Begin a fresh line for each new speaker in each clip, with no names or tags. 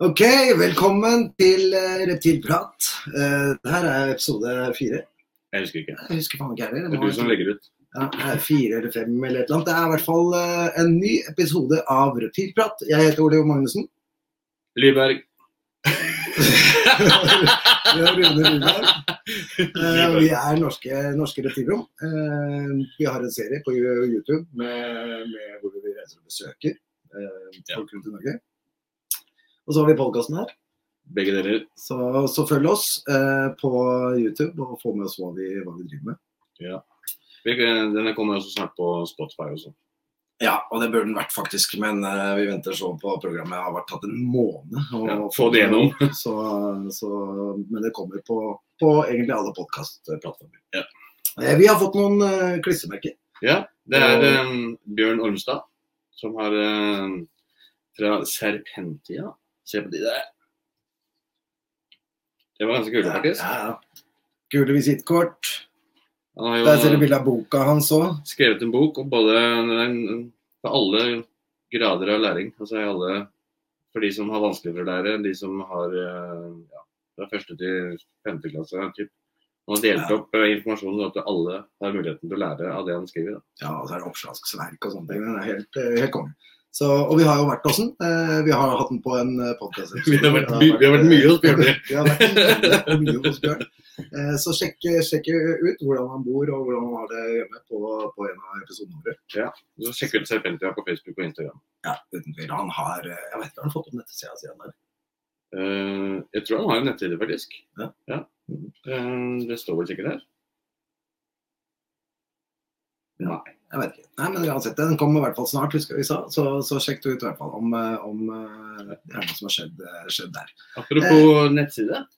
Ok, velkommen til eh, Reptilprat. Eh, Det her er episode fire.
Jeg husker ikke.
Jeg husker faen ikke heller.
Det er du som legger ut.
Ja, det er fire eller fem eller et eller annet. Det er i hvert fall eh, en ny episode av Reptilprat. Jeg heter Ole Jo Magnussen.
Lyberg.
Vi er Rune Rudberg. Eh, Vi er norske, norske reptilrom. Eh, Vi har en serie på YouTube med, med hvor vi reiser og besøker eh,
Ja.
folk rundt i Norge. Og så har vi podkasten her.
Begge deler.
Så, så følg oss eh, på YouTube og få med oss hva vi, hva vi driver med.
Vi- Denne kommer også snart på Spotify også.
Ja, og det burde den vært faktisk, men eh, vi venter så på programmet. Det har vært tatt en måned. å
Ja, få det gjennom.
Så, så, men det kommer på, på egentlig alle podkastplattformer.
Ja.
Eh, vi har fått noen eh, klistremerker.
Ja, det er eh, Bjørn Ormstad som har eh, fra Serpentia. Se på de der. Det var ganske kult, faktisk.
Ja, ja. Gule visittkort.
Han har
Der ser du
jo
bilde av boka hans òg.
skrevet en bok om både den- for alle grader av læring. Altså i alle For de som har vanskelig for å lære, de som har eh, ja, fra første til femte klasse. Typ. Han har delt
Ja.
opp eh, informasjonen sånn at alle har muligheten til å lære av det han skriver. Da.
Ja, og så er det oppslagsverk og sånne ting. Den er helt, eh, helt konge. Så, og vi har jo vært hos den. Eh, Vi har hatt den på en eh, podkast.
Vi har vært my- vi har vært mye hos Bjørn.
Vi har vært mye, mye hos Bjørn. Eh, Så sjekk, sjekk ut hvordan han bor og hvordan han har det hjemme på, på en av episodene våre.
Så Sjekk ut Serpentia på Facebook og Instagram.
Ja, uten tvil. Han har eh, Jeg vet ikke om han har fått opp nettsida si ennå.
Eh, jeg tror han har en nettside, faktisk.
Ja.
Eh, det står vel sikkert her. Nei.
Jeg vet ikke. Nei, men uansett, Den kommer i hvert fall snart, husker jeg vi sa. Så, så sjekk det ut i hvert fall om, eh, om eh, det er noe som har skjedd, eh, skjedd der.
Apropos nettside.
Eh.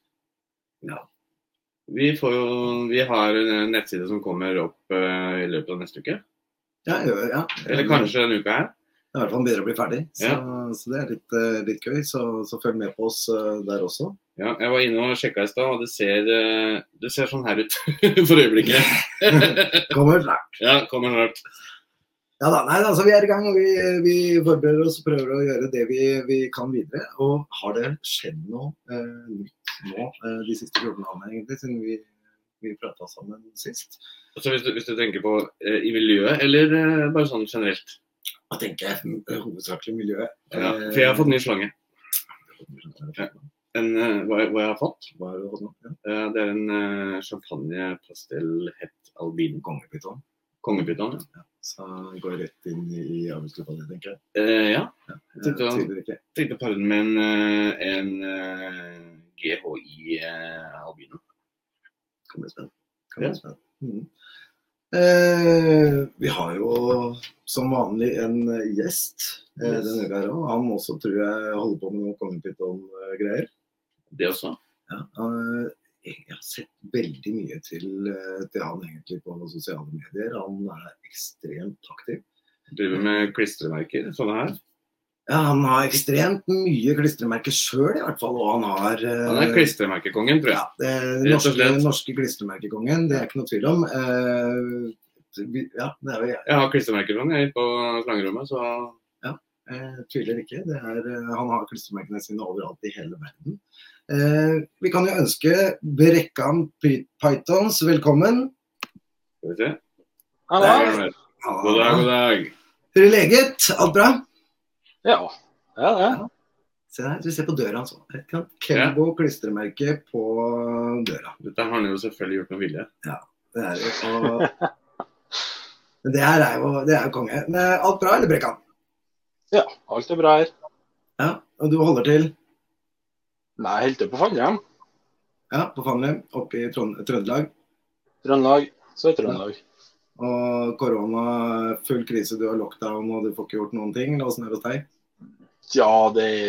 Ja.
Vi, får jo, vi har en nettside som kommer opp eh, i løpet av neste uke.
Ja, ja, ja.
Eller kanskje en uke her.
Det er i hvert fall bedre å bli ferdig, så,
Ja.
så det er litt, eh, litt gøy. Så, så følg med på oss eh, der også.
Ja, jeg var inne og sjekka i stad, og det ser, eh, det ser sånn her ut for øyeblikket.
Kommer snart.
Ja, kommer snart.
Ja da, nei, altså, vi er i gang, og vi, vi forbereder oss og prøver å gjøre det vi, vi kan videre. Og har det skjedd noe eh, nytt nå eh, de siste 14 dagene, egentlig, siden vi, vi prata sammen sist?
Altså, hvis, du, hvis du tenker på eh, i miljøet, eller eh, bare sånn generelt.
Da tenker jeg eh, hovedsakelig miljøet.
Ja, for jeg har fått ny slange.
Ja.
En, eh, hva, hva jeg har fått?
Hva har du fått nå? Ja.
Eh, det er en eh, champagne pastell hett albin
Kongepyton.
kongepyton. Ja.
Så går rett inn i arbeidsgruppa di, tenker jeg.
Eh, ja.
Eh,
Tenkte han-
Tviler ikke.
tenkte å pare den med en, eh, en eh, GHI eh, albino.
kan bli spennende. Kan bli
Ja.
spennende. Mhm. Eh, vi har jo som vanlig en eh, gjest eh,
Yes.
denne uka her òg. Han også tror jeg holder på med noen kongepyton-greier.
Det også.
Ja, eh, jeg har sett veldig mye til, eh, til han egentlig på sosiale medier. Han er ekstremt aktiv.
Driver med klistremerker, sånne her.
Ja, han har ekstremt mye klistremerker sjøl, i hvert fall. Og han har eh,
Han er klistremerkekongen, tror jeg.
Ja, det er den
Rett og
norske,
slett.
norske klistremerkekongen, det er ikke noe tvil om. Eh, vi- ja, det er jo jeg.
Jeg har klistremerker fra den jeg, på slangerommet, så
Eh, tviler ikke. Det er, eh, han har klistremerkene sine overalt i hele verden. Eh, vi kan jo ønske Brekkan Py- Pythons velkommen.
skal vi se. Der er
Hallo.
han her. God dag, god dag.
Hører leget? Alt bra?
Ja. Ja, ja.
Se her, du ser på døra hans òg. Kelbo klistremerke på døra.
Dette har han jo selvfølgelig gjort med vilje.
Det er jo og, Men det her er jo, det er jo konge. Men, eh, Alt bra, eller Brekkan?
ja. Alt er bra her.
Ja, og du holder til?
Nei, jeg holder til på Fannhjem.
Ja, på Fannlem, oppe i Trond Trøndelag.
Trøndelag. Så er Trøndelag.
Og korona, full krise, du har lockdown og du får ikke gjort noen ting. Åssen er det hos deg?
Ja, det er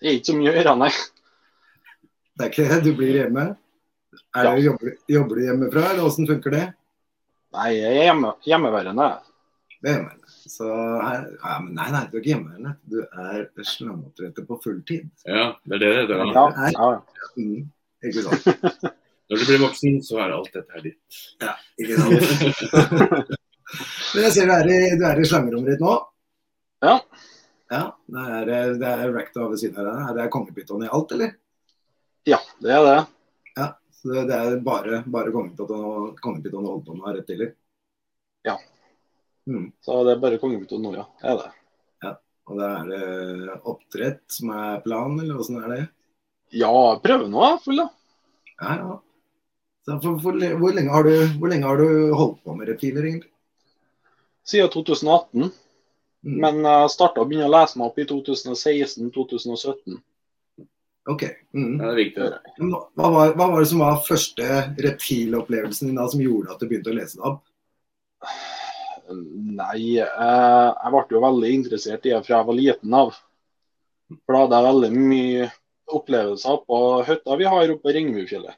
det er ikke så mye å gjøre, nei.
Det er ikke det, du blir hjemme. Er
Ja.
det, jobber, jobber du hjemmefra, eller åssen funker det?
Nei, jeg er hjemme, hjemmeværende.
Det er hjemmeværende. Så er, ja, men nei, nei, du er ikke hjemmeværende. Du er slangeoppdretter på fulltid.
Ja, det er det det heter. da.
Ja, ja.
Mm, ikke sant?
Når du blir voksen, så er alt dette her ditt.
Ikke sant? Men jeg ser du er i, du er i slangerommet ditt nå.
Ja.
Ja, det er, eh, det er Racta ved siden av deg. Er det kongepyton i alt, eller?
Ja, det er det.
Så det- det er bare, bare kongepyton og kongepyton og oldbånd har rett til det.
Ja.
Mm.
Så det er bare kongebyton nå, ja. Det er det.
Og da er det oppdrett som er planen, eller åssen er det?
Ja, prøve nå, da, full, da.
Ja, ja. Så for, for, hvor, lenge har du, hvor lenge har du holdt på med reptiler, egentlig?
Siden 2018.
Mm.
Men jeg starta å begynne å lese meg opp i 2016-2017.
Ok. Mm.
Ja, det er viktig.
Men Hva var, hva var det som var første reptilopplevelsen din da, som gjorde at du begynte å lese det opp?
Nei, eh, jeg ble jo veldig interessert i det fra jeg var liten av. For da hadde jeg veldig mye opplevelser på hytta vi har oppe på Ringebufjellet.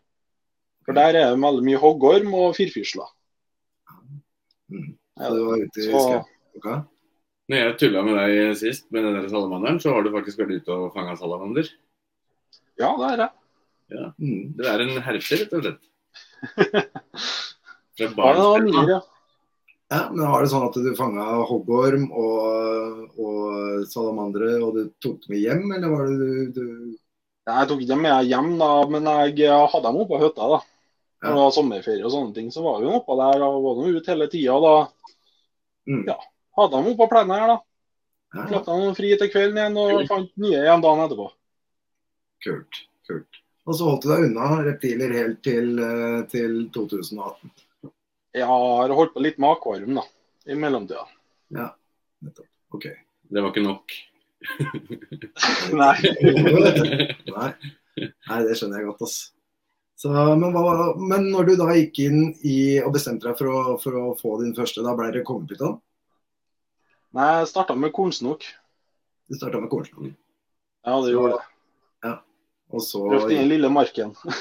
For der er det veldig mye hoggorm og firfisler.
Mm.
Ja,
Du var ute i
Så
skogen?
Når jeg tulla med deg sist med den der salamanderen, så har du faktisk vært ute og fanga salamander.
ja, det er det.
Mm.
Det er en herper, rett og slett. Fra
Ja, det var
barnsben av.
mye, ja.
Ja, men var det sånn at du fanga hoggorm og, og salamandere og du tok dem med hjem, eller var det du, du
Nei, Jeg tok ikke med hjem, da, men jeg hadde dem oppe på hytta. da.
Ja.
Når det var sommerferie og sånne ting, så var vi oppe der og var nå ute hele tida. Da
mm.
Ja. hadde dem oppe på plenen her, da.
ja,
Slapp dem fri til kvelden igjen og
Kult.
fant nye igjen dagen etterpå.
Kult. kult. Og så holdt du deg unna reptiler helt til, eh, til 2018.
Jeg har holdt på litt med akvarium, da. I mellomtida.
OK.
Det var ikke nok.
Nei.
Nei. Nei, det skjønner jeg godt, ass. Så, men, hva, men når du da gikk inn i, og bestemte deg for å, for å få din første, da ble det kongepyton?
Nei, jeg starta med kornsnok.
Du starta med kornslangen,
Ja, det gjorde det.
og så
Prøvde inn i lille marken.
Ja,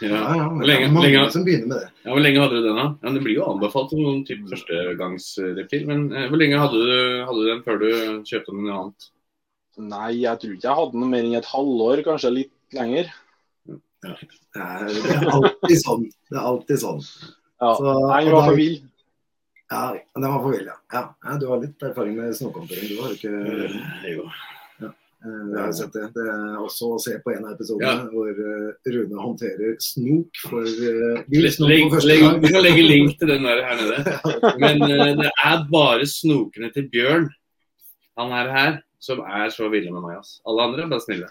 Ja.
ja, men det
Lenge-
er mange
lenge-
som begynner med det.
ja, Hvor lenge hadde du den, da? Ja, men det blir jo anbefalt som noen type førstegangsreptil. Men eh, hvor lenge hadde du, hadde du den før du kjøpte noe annet?
Nei, jeg tror ikke jeg hadde noe mer enn et halvår, kanskje litt lenger.
Det er, det er alltid sånn. Det er alltid sånn.
Ja.
Så,
Nei,
og
jeg var
da-
for vill.
Ja, den var for vill, ja. ja. ja, Du har litt erfaring med snøkompering, du har ikke eh,
jo.
Jeg har jo sett det. Det er også å se på en av episodene
Ja.
hvor eh, Rune håndterer snok for uh,
Legg, legg, vi kan legge link til den der her nede. Men eh, det er bare snokene til Bjørn, han her her, som er så ville med meg. ass. Alle andre er bare snille.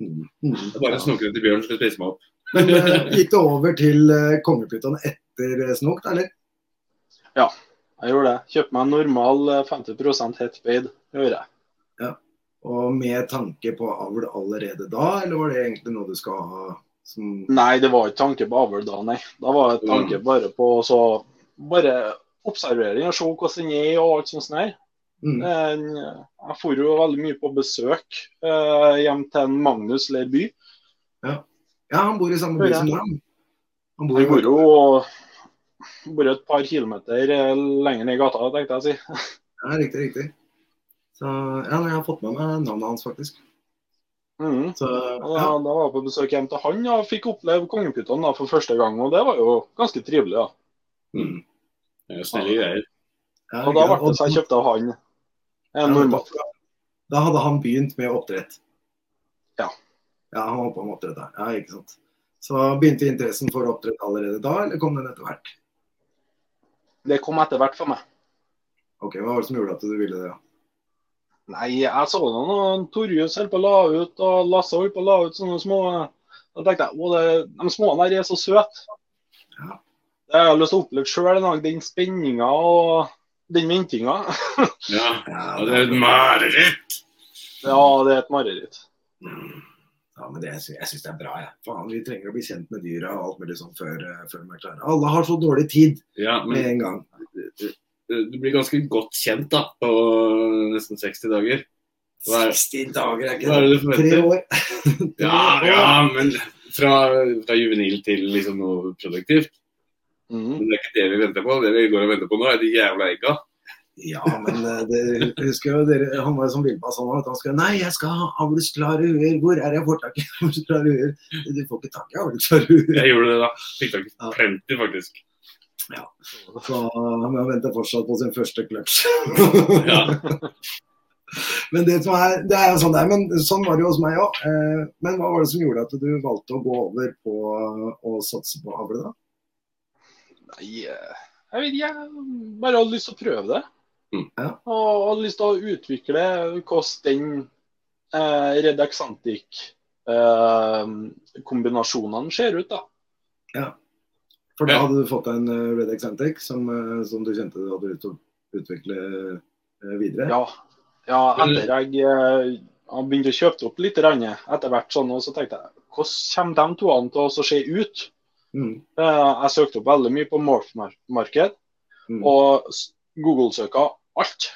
Det er bare snokene til Bjørn som skal spise meg opp.
Mm. Men eh, gikk det over til uh, kongepyton etter eh, snok, da, eller?
Jeg gjorde det. Kjøpte meg en normal eh, 50 hett beid. Det gjorde jeg.
Og med tanke på avl allerede da, eller var det egentlig noe du skal ha som
Nei, det var ikke tanke på avl da, nei. Da var det tanke bare på å så- bare observering og se hvordan den er og alt sånt sånn her.
mm.
Eh, Jeg for jo veldig mye på besøk eh, hjem til en Magnus Leirby.
Ja, han bor i samme by
Ja.
som deg. Han bor
Vi
i
bor
Bordeaux.
jo bor jo et par kilometer eh, lenger ned i gata, tenkte jeg å si.
Ja, riktig, riktig. Så ja, jeg har fått med meg navnet hans, faktisk.
Mhm.
Så
Og Da,
ja,
da var jeg på besøk hjem til han og fikk oppleve kongepyton da for første gang. Og det var jo ganske trivelig. da.
Mm.
Det er jo snille greier.
ja,
Og da
ikke sant?
ble det så jeg kjøpte av han en normal.
Da hadde han begynt med oppdrett.
Ja.
Ja, han holdt på med oppdrett der. Ja, ikke sant. Så begynte interessen for oppdrett allerede da, eller kom den etter hvert?
Det kom etter hvert for meg.
Ok, Hva var det som gjorde at du ville det? da?
Nei, jeg så den, og Torjus holdt på å la ut, og Lasse holdt på å la ut sånne små Da tenkte jeg å, det- de små der er så søte.
Ja.
Det har jeg lyst til å oppleve sjøl en dag, den spenninga og den ventinga.
Ja.
Ja,
ja, det er et mareritt!
Ja, det er et mareritt.
Ja, men det, jeg sy- jeg syns det er bra, jeg. Faen, vi trenger å bli kjent med dyra og alt mulig sånn før, eh, før vi er klare. Alle har så dårlig tid
Ja, men
med en gang.
du blir ganske godt kjent da, på nesten 60 dager. Hva er-
60 dager er
Hva
ikke
er
det?
det du
Tre
forventer?
år.
Ja, ja, men fra, fra juvenil til liksom noe produktivt.
Mhm.
Men det er ikke det vi venter på. Det vi går og venter på nå, er de jævla egga.
Ja, men eh, det, jeg husker jo dere, han var jo som Vilma sa nå, at han skulle Nei, jeg skal ha avlsklare huer. Hvor er jeg får tak i avlsklare huer? Du får ikke tak i avlsklare huer.
Jeg gjorde det da. Fikk tak
Ja.
i plenty, faktisk.
Så han venter fortsatt på sin første clutch.
Ja.
Men det, som er, det er jo sånn det er, men sånn var det jo hos meg òg. Men hva var det som gjorde at du valgte å gå over på å satse på avle, da?
Nei, eh, jeg vet ikke. Jeg bare hadde lyst til å prøve det.
Mm.
Ja.
Og hadde lyst til å utvikle hvordan den eh, Redexantic-kombinasjonene ser ut. da.
For da
Ja.
hadde du fått deg en eh, Red Exantic som, eh, som du kjente du hadde lyst til å utvikle eh, videre.
Ja. ja, etter jeg eh, jeg begynte å kjøpe det opp litt grann etter hvert, sånn, og så tenkte jeg hvordan kommer de to an til å se ut?
Mm.
Eh, Jeg søkte opp veldig mye på Morph-marked.
Mm.
og s- Google-søka alt.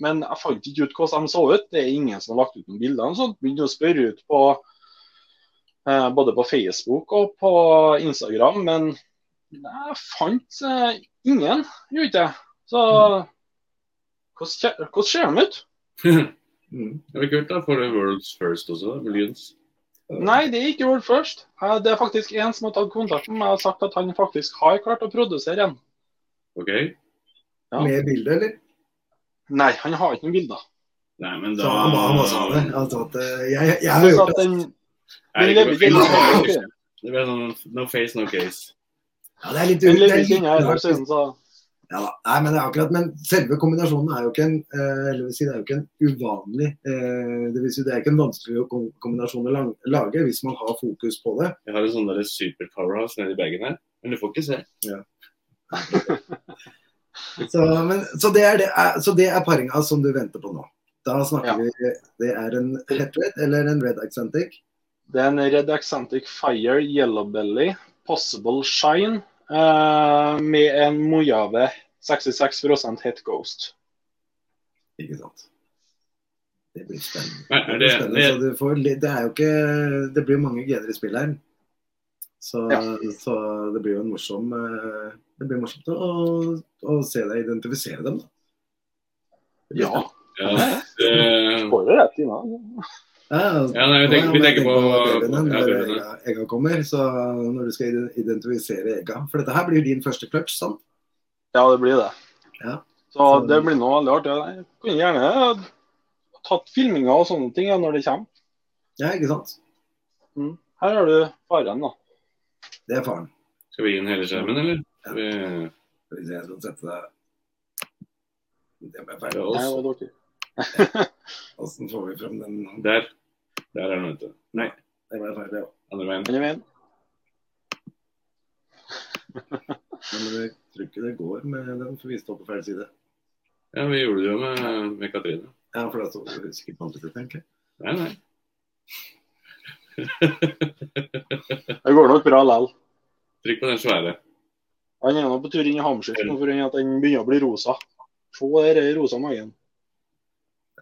Men jeg fant ikke ut hvordan de så ut. Det er ingen som har lagt ut noen bilder. og sånt. Begynte å spørre ut på eh, både på Facebook og på Instagram, men jeg fant eh, ingen, gjorde ikke jeg. Så hvordan kje- hvordan ser de ut?
det
Mm.
blir kult, da. Får du World's First også, da. Millions.
Nei, det er ikke World First. Eh, Det er faktisk en som har tatt kontakt med meg og sagt at han faktisk har klart å produsere en.
OK?
Ja.
Med bilde, eller?
Nei, han har ikke noen bilder.
Nei, men
Så
da
han ba han også ha det. Altså at, eh, jeg, jeg har
Så
hørt
at
det.
den,
Nei,
den
det
lever
går
ikke i
fint.
landet.
Det blir sånn no face, no case.
Ja, det er litt,
Den
det er
lever ikke
litt
inni her,
rart.
siden, så
Ja, da. nei, men det er akkurat, men selve kombinasjonen er jo ikke en, eh, eller vil si, det er jo ikke en uvanlig eh, Det vil si det er ikke en vanskelig kom- kombinasjon å lang- lage hvis man har fokus på det.
Jeg har en sånn der super powerhouse nedi bagen her, men du får ikke se.
Så, men, så, det, er det, er, så det er paringa som du venter på nå. Da snakker
Ja.
vi Det er en het red eller en red accentic.
Det er en Red Accentic Fire Yellow Belly Possible Shine eh, med en Mojave 66 Het Ghost.
Ikke sant. Det blir spennende.
Nei,
Det, blir
er det,
spennende,
det,
så du får, litt- det er jo ikke Det blir mange gener i spill her. Så,
Ja.
så det blir jo en morsom eh, Det blir morsomt å, å se deg identifisere dem, da. Det blir
Ja,
ja, det,
får det rett i dag.
Ja, altså,
Ja, nei, vi
nå,
tenker, vi
men jeg
tenker på
babyene
ja,
når
babyene.
egga, egga kommer, så når du skal ide- identifisere egga. For dette her blir din første clutch, sant?
Ja, det blir det.
Ja.
Så det blir noe veldig artig. Jeg kunne gjerne tatt filminga og sånne ting ja, når det kommer.
Ja, ikke sant?
Her har du faren, da.
Det er faren.
Skal vi gi den hele skjermen, eller? Skal Vi,
Skal vi se, Jeg skal sette deg Det ble
det
feil.
er
Nei,
oss.
og dere.
Åssen får vi fram den?
Der. Der er den, vet du.
Det ble feil, ja.
Andre veien.
Andre veien.
Men jeg tror ikke det går med den, for vi står på feil side.
Ja, vi gjorde det jo med, med Katrine.
Ja, for da står vi sikkert på andre side, tenker jeg.
Nei, nei.
Det går nok bra likevel.
Trykk på den svære.
Han er nå på tur inn i Hammerskjøtt nå for at den begynner å bli rosa. Se der er rosa magen.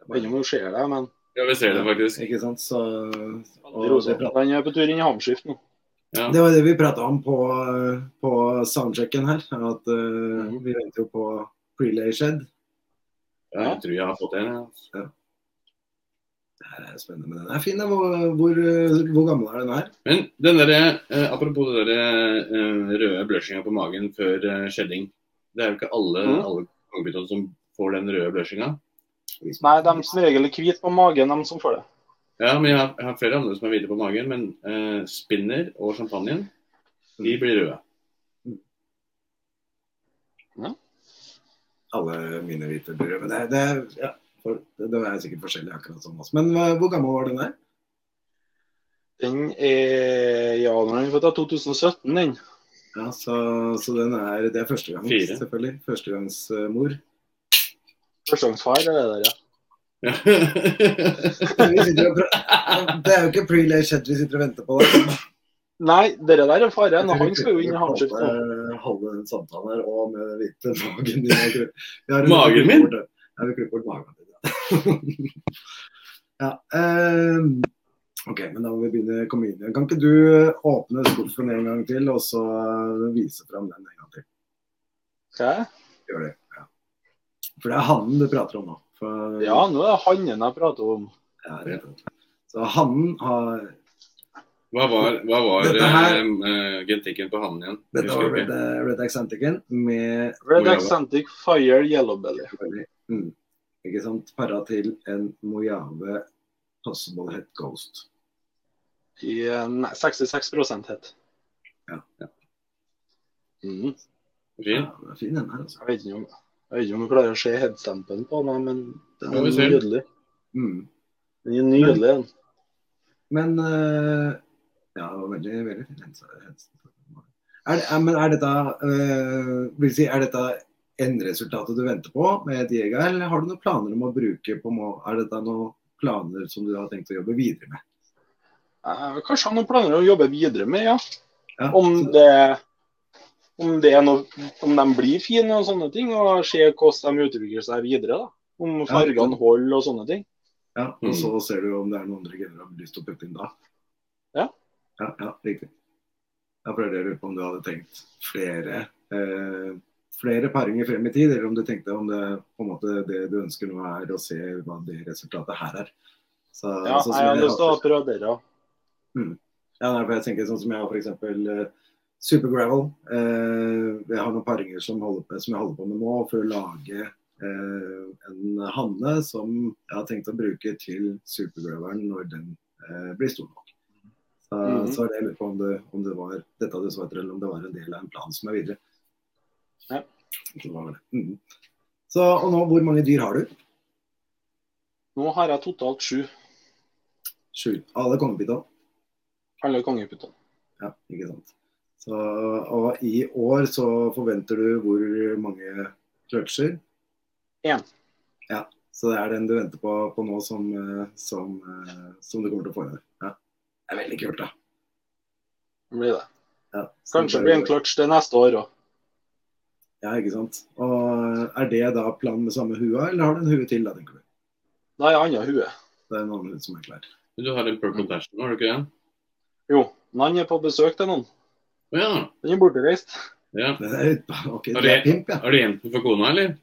Jeg vet ikke om du ser det, men
Ja, vi ser det faktisk.
Ikke sant, så
Veldig
og
rosa.
det, prat-
Han er på tur inn i hamskift nå.
Ja.
det var det vi prata om på, på soundchecken her. At eh,
Mm.
Mhm.
vi venter jo på Prelay Shed.
Ja, jeg tror jeg har fått en. Ja.
Det her er spennende. Men den er fin. da. Hvor, hvor, eh, hvor gammel er den her?
Men den der, eh, apropos den der eh, røde blushinga på magen før eh, skjedding. Det er jo ikke alle,
Mm.
Mhm.
alle kongebyttene som får den røde blushinga.
Nei, de som regel er hvite på magen, de som får det.
Ja, men jeg har, jeg har flere andre som er hvite på magen, men eh, spinner og champagnen, de blir røde.
Alle mine hvite brødre. Men det, det, ja, for, det er sikkert forskjellig akkurat som oss. Men eh, hvor gammel var den der?
Den er Ja, når den er født av 2017, den.
Ja, så, så den er, det er førstegangs,
Fire.
selvfølgelig. Førstegangsmor.
Førstegangsfar er det der, ja.
Ja.
Vi sitter og pra- Det er jo ikke pre-lay shed vi sitter og venter på. da.
Nei, det der er faren. og Han skal jo inn i hamskift nå.
Holde- Holde den samtalen her og med den hvite magen din. Jeg tror- vi har en-
Magen min?
Ja, vi klipper bort magen din. ja. ja ehm, ok, men da må vi begynne å komme inn igjen. Kan ikke du eh, åpne skuffen en gang til, og så eh, vise fram den en gang til?
Skal jeg?
Gjør det. Ja. For det er hannen du prater om nå. For,
Ja, nå er det hannen jeg prater om.
Ja, rett og slett. Så hannen har
Hva var, hva var
Dette her-
eh, eh, genetikken på hannen igjen?
Dette
Husker
var
ikke.
Red, Red Accenticen med
Red
Hvor er det?
Accentic Fire Yellow Belly.
mm, Ikke sant? Para til en Mojave Possible Head Ghost.
I eh, nei, 66 het.
Ja.
Mm.
Fin.
Ja, den er fin den her, altså.
Jeg vet ikke om jeg vet ikke om jeg klarer å se headstampen på den, men den
Får
er
vi se.
nydelig.
Mm.
Den er nydelig, den.
Men eh, Ja, det var veldig, veldig fin helse. helse. Er, er, men er dette, eh, vil si, er dette enderesultatet du venter på med Diego, eller har du noen planer om å bruke på må- Er dette noen planer som du har tenkt å jobbe videre med?
Eh, Kanskje han har planer å jobbe videre med, ja.
Ja,
Om det, om det er noe, om de blir fine og sånne ting, og se hvordan de utvikler seg videre. da. Om fargene holder og sånne ting.
ja,
Mm.
og så ser du om det er noen andre gener du har lyst til å putte inn da.
Ja.
Ja, ja riktig. Da prøvde jeg å lure på om du hadde tenkt flere eh, flere paringer frem i tid, eller om du tenkte om det på en måte det du ønsker nå er å se hva det resultatet her er. Så,
Ja,
sånn som
jeg har
jeg
lyst til
har-
å prodere.
ja, nei, for jeg tenker sånn som jeg har for eksempel eh, Super Gravel. Eh, jeg har noen paringer som, holder på, som jeg holder på med nå for å lage eh, en hanne som jeg har tenkt å bruke til Super Gravelen når den eh, blir stor nok. Så,
Mhm.
så er det jeg lurer på om det, om det var dette du svarte, eller om det var en del av en plan som er videre.
Ja.
Det var det. Mhm. Så, og nå, hvor mange dyr har du?
Nå har jeg totalt sju.
Sju. Alle kongepiton?
Alle kongeputtene.
Ja, ikke sant. Så, og i år så forventer du hvor mange kløtsjer?
En.
Ja, så det er den du venter på, på nå som, eh, som, eh, som du kommer til å få i år. Ja. Det er veldig kult, da.
Blir det.
Ja, så
Kanskje
det
blir en clutch det neste år òg.
Ja, ikke sant. Og eh, er det da planen med samme hua, eller har du en hue til, da, tenker du?
Da er jeg annet hue.
Det er en annen hue som er klar.
Du har en purple passion, har du ikke det?
Jo, men han er på besøk til noen.
Å ja.
Den er bortreist.
ja.
Det er, ok,
Har
du er
du-
pimp, ja.
Har du gjemt den for kona, eller?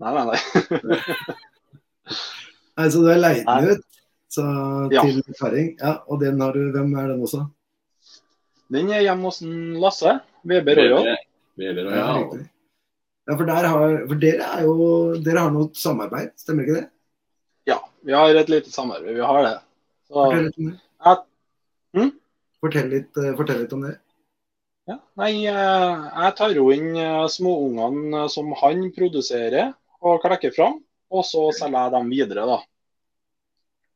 Nei, nei, nei.
Nei, så du har leid den
Nei.
ut så,
Ja.
til paring. Ja, og den har du, hvem er den også?
Den er hjemme hos en Lasse. Weber Royal.
Baby
Ja,
Royal.
riktig. ja for, der har, for dere er jo Dere har noe samarbeid, stemmer ikke det?
Ja, vi har et lite samarbeid. Vi har det. Så,
Fortell litt om det.
At- Hm?
Fortell, litt, eh, fortell litt om det.
ja. Nei, eh, jeg tar jo inn eh, småungene som han produserer og klekker fram. Og så selger jeg dem videre, da.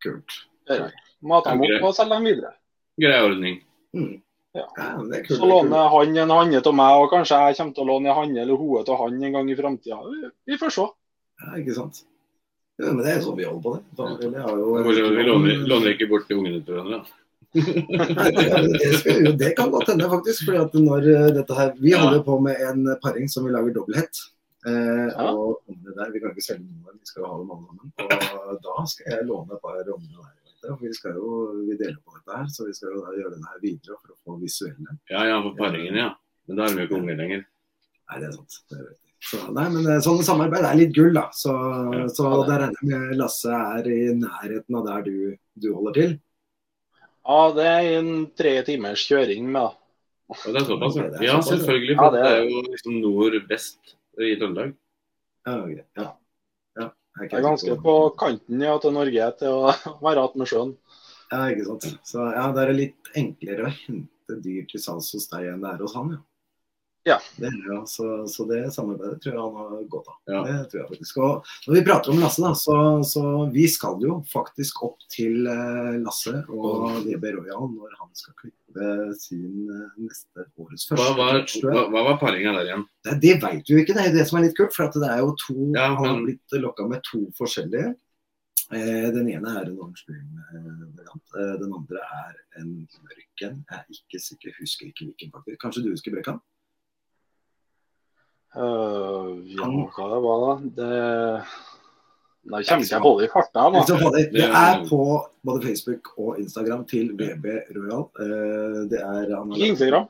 Kult.
Gjør jeg. Mater dem
Ja, greit.
opp og selger dem videre.
Grei ordning.
Mm.
Ja.
men det er kult.
Så låner han en hanne til meg, og kanskje jeg kommer til å låne en hanne eller hode til han en gang i framtida. Vi får se.
Ja, ikke sant. Ja, men det er jo sånn vi holder på det. Da, eller jeg har jo,
Hvor Vi låner, låner ikke bort til ungene til hverandre. da.
Nei, det, kan- det, skal, jo, det kan godt hende, faktisk. Fordi at når eh, dette her Vi
Ja.
holder på med en eh, paring som vi lager dobbelthet. Eh,
Ja.
Og ungene der, Vi kan ikke selge noen, vi skal jo ha dem alle sammen. Og da skal jeg låne et par områder der. vet du, For vi skal jo vi deler på dette her, så vi skal jo da gjøre denne her videre for å få visuelle.
Ja, ja, for paringen, ja. Men da er de jo ikke unger lenger.
Nei, det er sant. Det er riktig. så, nei, men eh, sånne samarbeid er litt gull, da. Så,
Ja,
så
ja, det
der regner jeg med Lasse er i nærheten av der du, du holder til.
Ja, det er en tre timers kjøring med, da.
Og det er såpass, ja. Ja, selvfølgelig.
Ja,
For
det
det
er-
er jo liksom nord-vest i Trøndelag.
Ja, ok. ja. Ja, er ikke
Det er ganske
helt-
på kanten ja, til Norge til å være att med sjøen.
Ja, ikke sant. Så ja, det er det litt enklere å hente dyr til salgs hos deg enn det er hos han, ja.
Ja.
Det er, jo- så, så det samarbeidet tror jeg han har godt av.
Ja.
Det tror jeg faktisk. Og når vi prater om Lasse, da, så, så vi skal jo faktisk opp til eh, Lasse og VB Royal når han skal klippe sin eh, neste årets
Hva
første.
var,
kløtsj, tror jeg.
hva, hva var paringa der igjen?
Det, det veit du ikke, det er jo det som er litt kult. For at det er jo to,
Ja,
Han har
men-
blitt lokka med to forskjellige. Eh, den ene er en orange dream-variant. Eh, den andre er en mørk en. Jeg er ikke sikker, husker ikke hvilken, faktisk. Kanskje du husker Brekkan?
Øh, ja, hva det var da? Det Nei, kommer ikke jeg på det i farta.
Hvis
da.
du får Det
Det
det
er-
er på både Facebook og Instagram til VB Royal. Eh, det er han
Ikke
har,
Instagram.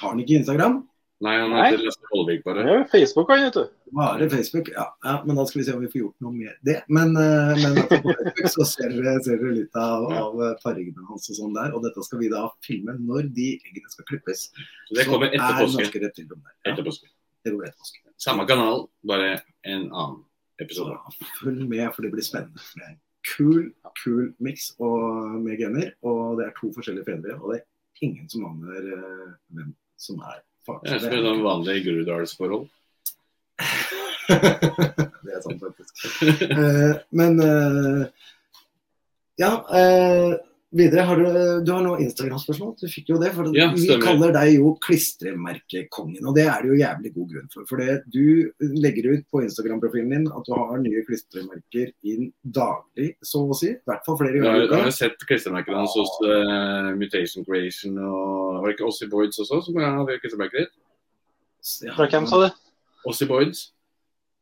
har han ikke Instagram?
Nei, han
Nei.
heter Lasse Vollvik,
Det
bare.
er jo Facebook, han, vet du.
Bare Facebook, ja. ja. Men da skal vi se om vi får gjort noe med det. Men, eh, men at på Facebook så ser dere, ser dere litt av, av eh, fargene hans og sånn der. Og dette skal vi da filme når de eggene skal klippes.
Så det kommer etter
Så er
påske.
norske reptiler om der. Ja,
Etter påske.
det går etter påske.
Samme kanal, bare en annen
Så
episoder.
følg med, for det blir spennende. For det er en kul, kul miks med gener. Og det er to forskjellige fedre, og det er ingen som aner eh, hvem som er far.
Det
Så
er som et
det,
sånn vanlig Groruddalsforhold.
det er sant, faktisk. Eh, men eh, ja. eh, Videre, har du, du har noe Instagram-spørsmål. Du fikk jo det. for
Ja,
Vi
stemmer.
kaller deg jo klistremerkekongen, og det er det jo jævlig god grunn for. For det, du legger ut på Instagram-profilen din at du har nye klistremerker inn daglig, så å si. I hvert fall flere
Jeg har,
ganger i
jeg har
uka.
jo sett klistremerkene hans hos eh, Mutation Creation og Var det ikke Ossie Boyds også som jeg hadde klistremerker i?
Fra hvem, sa du?
Ossie Boyds?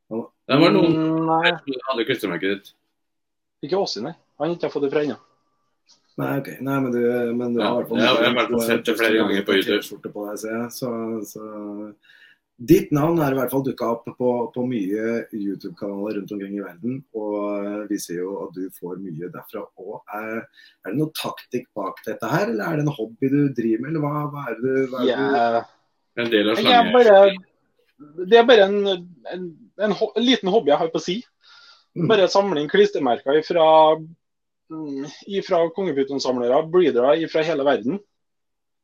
Ja.
Det var noen
Mm, Nei,
som hadde klistremerket ditt.
ikke Åsi, nei. Han har ikke fått det fra ennå.
Nei, ok. Nei, men du, men du har
Ja,
i hvert fall-
jeg har- jeg har i hvert fall sett det flere ganger på YouTube.
T-skjorte på deg, ser jeg. Så, så Ditt navn er i hvert fall dukka opp på, på mye YouTube-kanaler rundt omkring i verden. Og eh, vi ser jo at du får mye derfra òg. Er, er det noen taktikk bak dette her, eller er det en hobby du driver med, eller hva, hva er det du hva er det du-
Jeg-
En del av
Jeg er
slangen.
bare, det er bare en, en, en, ho- en liten hobby jeg har på si.
Mm.
Bare samle inn klistremerker fra ifra kongeputonsamlere, breedere fra hele verden.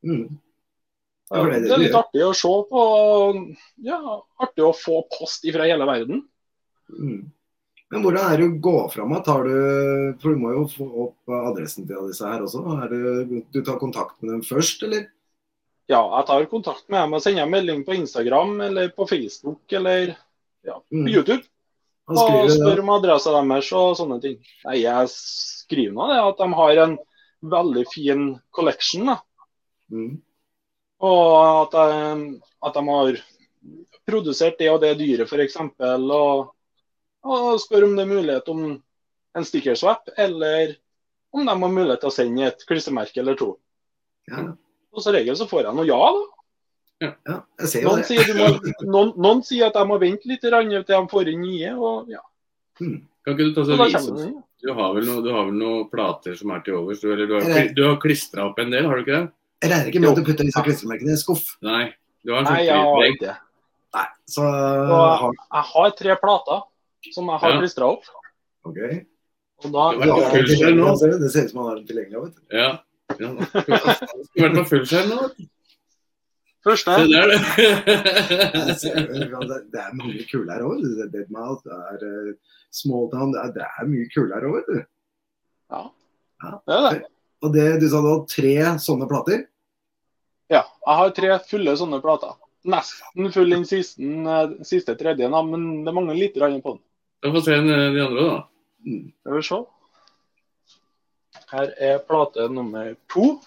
Mm. Ja,
Ja,
for det er det
det er
du
litt
gjør.
artig å se på. Ja, artig å få post ifra hele verden.
Mm. Men hvordan er det å gå fram? da? Tar du, for du må jo få opp adressen til disse her også. Er det, du tar kontakt med dem først, eller?
Ja, jeg tar kontakt med dem og sender en melding på Instagram eller på Facebook eller på
Mm.
YouTube.
Han
Og
skriver
spør
det.
om adressa deres og sånne ting. Nei, jeg skriver nå det at de har en veldig fin collection. da.
Mm.
Og at, de- at de har produsert det og det dyret, f.eks. Og, og spør om det er mulighet om en stickerswap, eller om de har mulighet til å sende et klistremerke eller to.
Ja,
Og som regel så får jeg noe ja, da.
ja, jeg ser jo
Noen
det.
sier, du må, noen, noen sier at jeg må vente litt grann til de får inn nye, og ja.
Mm.
Kan ikke du ta
Og
så
da
vise
kommer det
oss?
nye.
Du har vel noen noe noen plater som er til overs? Du, eller du har,
Eller-
kli- du har klistra opp en del, har du ikke det?
Jeg regner ikke med at du putter disse klistremerkene i en skuff.
Nei. Du har en sånn
Nei, jeg har
trykklegg.
ikke det.
Nei, så
Og- Jeg har tre plater som jeg har
Ja.
klistra opp.
OK.
Og da
Det
Du har
full
den
skjerm
tilgjengelig,
nå.
ser du. Det ser ut som han har den tilgjengelig. Vet du.
Ja. ja. Skulle vært på fullskjerm nå.
Første
Se der,
Jeg
du.
ser jo, ja, Det det er mange kuler her òg. Det er Deadmau5, det er eh, Smalltown. Det er, det er mye kuler her òg, vet du.
det er det.
Og det, du sa du hadde tre sånne plater.
Ja. Jeg har tre fulle sånne plater. Nesten full den siste, eh, siste tredje, da, men det mangler litt grann på den.
Da får vi se en, eh, de andre, da.
Mm.
Skal vi se. Her er plate nummer to.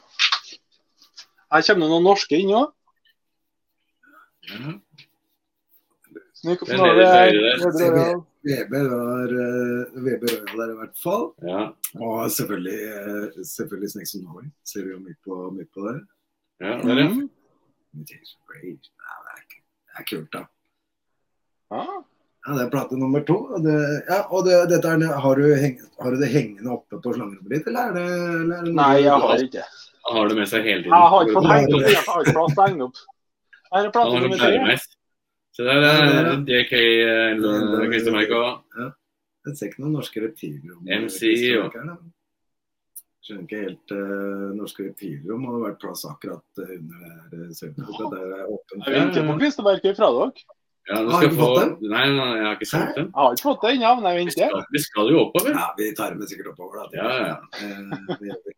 Her kommer det noen norske inn òg.
Ja.
Nede
Det er nede til høyre der.
VB var eh, VB Royal der i hvert fall.
Ja.
Og selvfølgelig, eh, selvfølgelig Snakes on Norway. Ser vi jo mye på, mye på det.
ja. Der, ja.
Mm.
Mutation Rage. Nei, det, er, ikke- det er kult, da.
Ja.
Ja, Det er plate nummer to. Og det, ja, og det, dette er, har, du heng, har du det hengende oppe på slangerommet ditt, eller er det, eller er det
Nei, jeg har ikke
Han har det med seg hele tiden.
Jeg har ikke fått hengt opp. Jeg har ikke plass til å henge opp. Her er
Han
plate
har
nummer
sånn
tre.
bæremeis. Se der er DK eh, Christer Merk også.
Jeg ser ikke noen norske reptiler om
MC, jo.
Skjønner ikke helt eh, norske reptiler om hadde vært plass akkurat eh, under det her eh, søvnet, Der er det åpent.
Jeg venter på klistremerket fra dere.
Ja, du
Har
skal
du
få...
fått
Nei, nei, jeg har ikke sett dem.
Jeg har ikke fått det ennå, men jeg
Vi
venter.
skal, vi skal jo oppover.
Ja, vi tar dem sikkert oppover, da.
Ja, ja.
Eh, det gjør vi.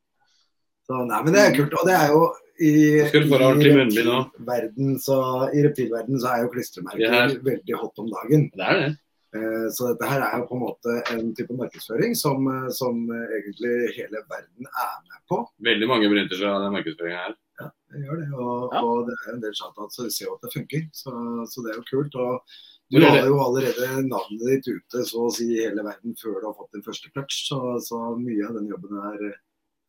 Så, nei, men det er kult. Og det er jo i,
Skal du få deg
i
ordentlig munnbind nå?
reptilverden så, i reptilverden så er jo klistremerker
Det her-
veldig hot om dagen.
Det er det.
Eh, Så dette her er jo på en måte en type markedsføring som, eh, som eh, egentlig hele verden er med på.
Veldig mange benytter seg av den markedsføringen her.
Det gjør det, og,
Ja.
og det er en del chat så vi ser jo at det funker. Så, så det er jo kult. Og du
Hvor er
har
det?
jo allerede navnet ditt ute så å si i hele verden før du har fått din første clutch, så, så mye av den jobben her eh,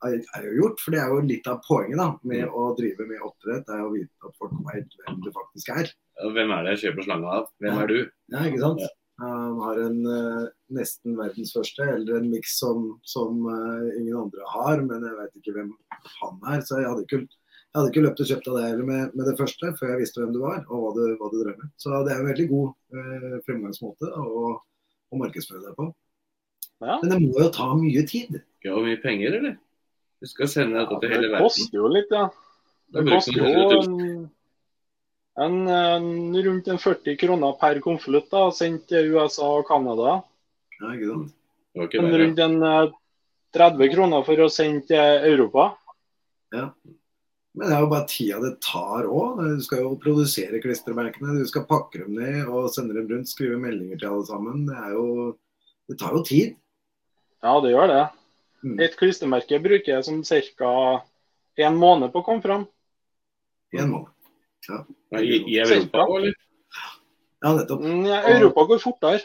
er, er jo gjort. For det er jo litt av poenget da, med å drive med oppdrett, det er jo å vite at folk vet hvem du faktisk er.
Ja, Hvem er det jeg kjøper slanga av? Hvem er du?
Ja, ikke sant? Han har en eh, nesten verdens første, eller en miks som, som eh, ingen andre har, men jeg veit ikke hvem han er. Så jeg hadde ikke, jeg hadde ikke løpt og kjøpt av deg heller med, med det første, før jeg visste hvem du var og hva du, hva du drev med. Så det er en veldig god eh, fremgangsmåte å, å markedsføre deg på.
Ja.
Men det må jo ta mye tid.
Ikke hvor mye penger, eller? Du skal sende
Ja,
dette til hele
det
verden.
koster jo litt, ja.
Da
Det
bruker
koster
man
jo
100 000.
en, en, en, rundt en 40 kroner per konvolutt da, sendt til USA og Canada.
Ja, ikke sant?
Det var ikke
Men
verre.
rundt en eh, 30 kroner for å sende til Europa.
Men det er jo bare tida det tar òg. Du skal jo produsere klistremerkene. Du skal pakke dem ned og sende dem rundt. Skrive meldinger til alle sammen. Det, er jo, det tar jo tid.
Ja, det gjør det.
Mm.
Et klistremerke bruker jeg som ca. en måned på å komme fram.
I en måned.
Nei, I, I Europa
Selvklart.
også, eller?
Ja, nettopp.
Mm, ja, Europa går fortere.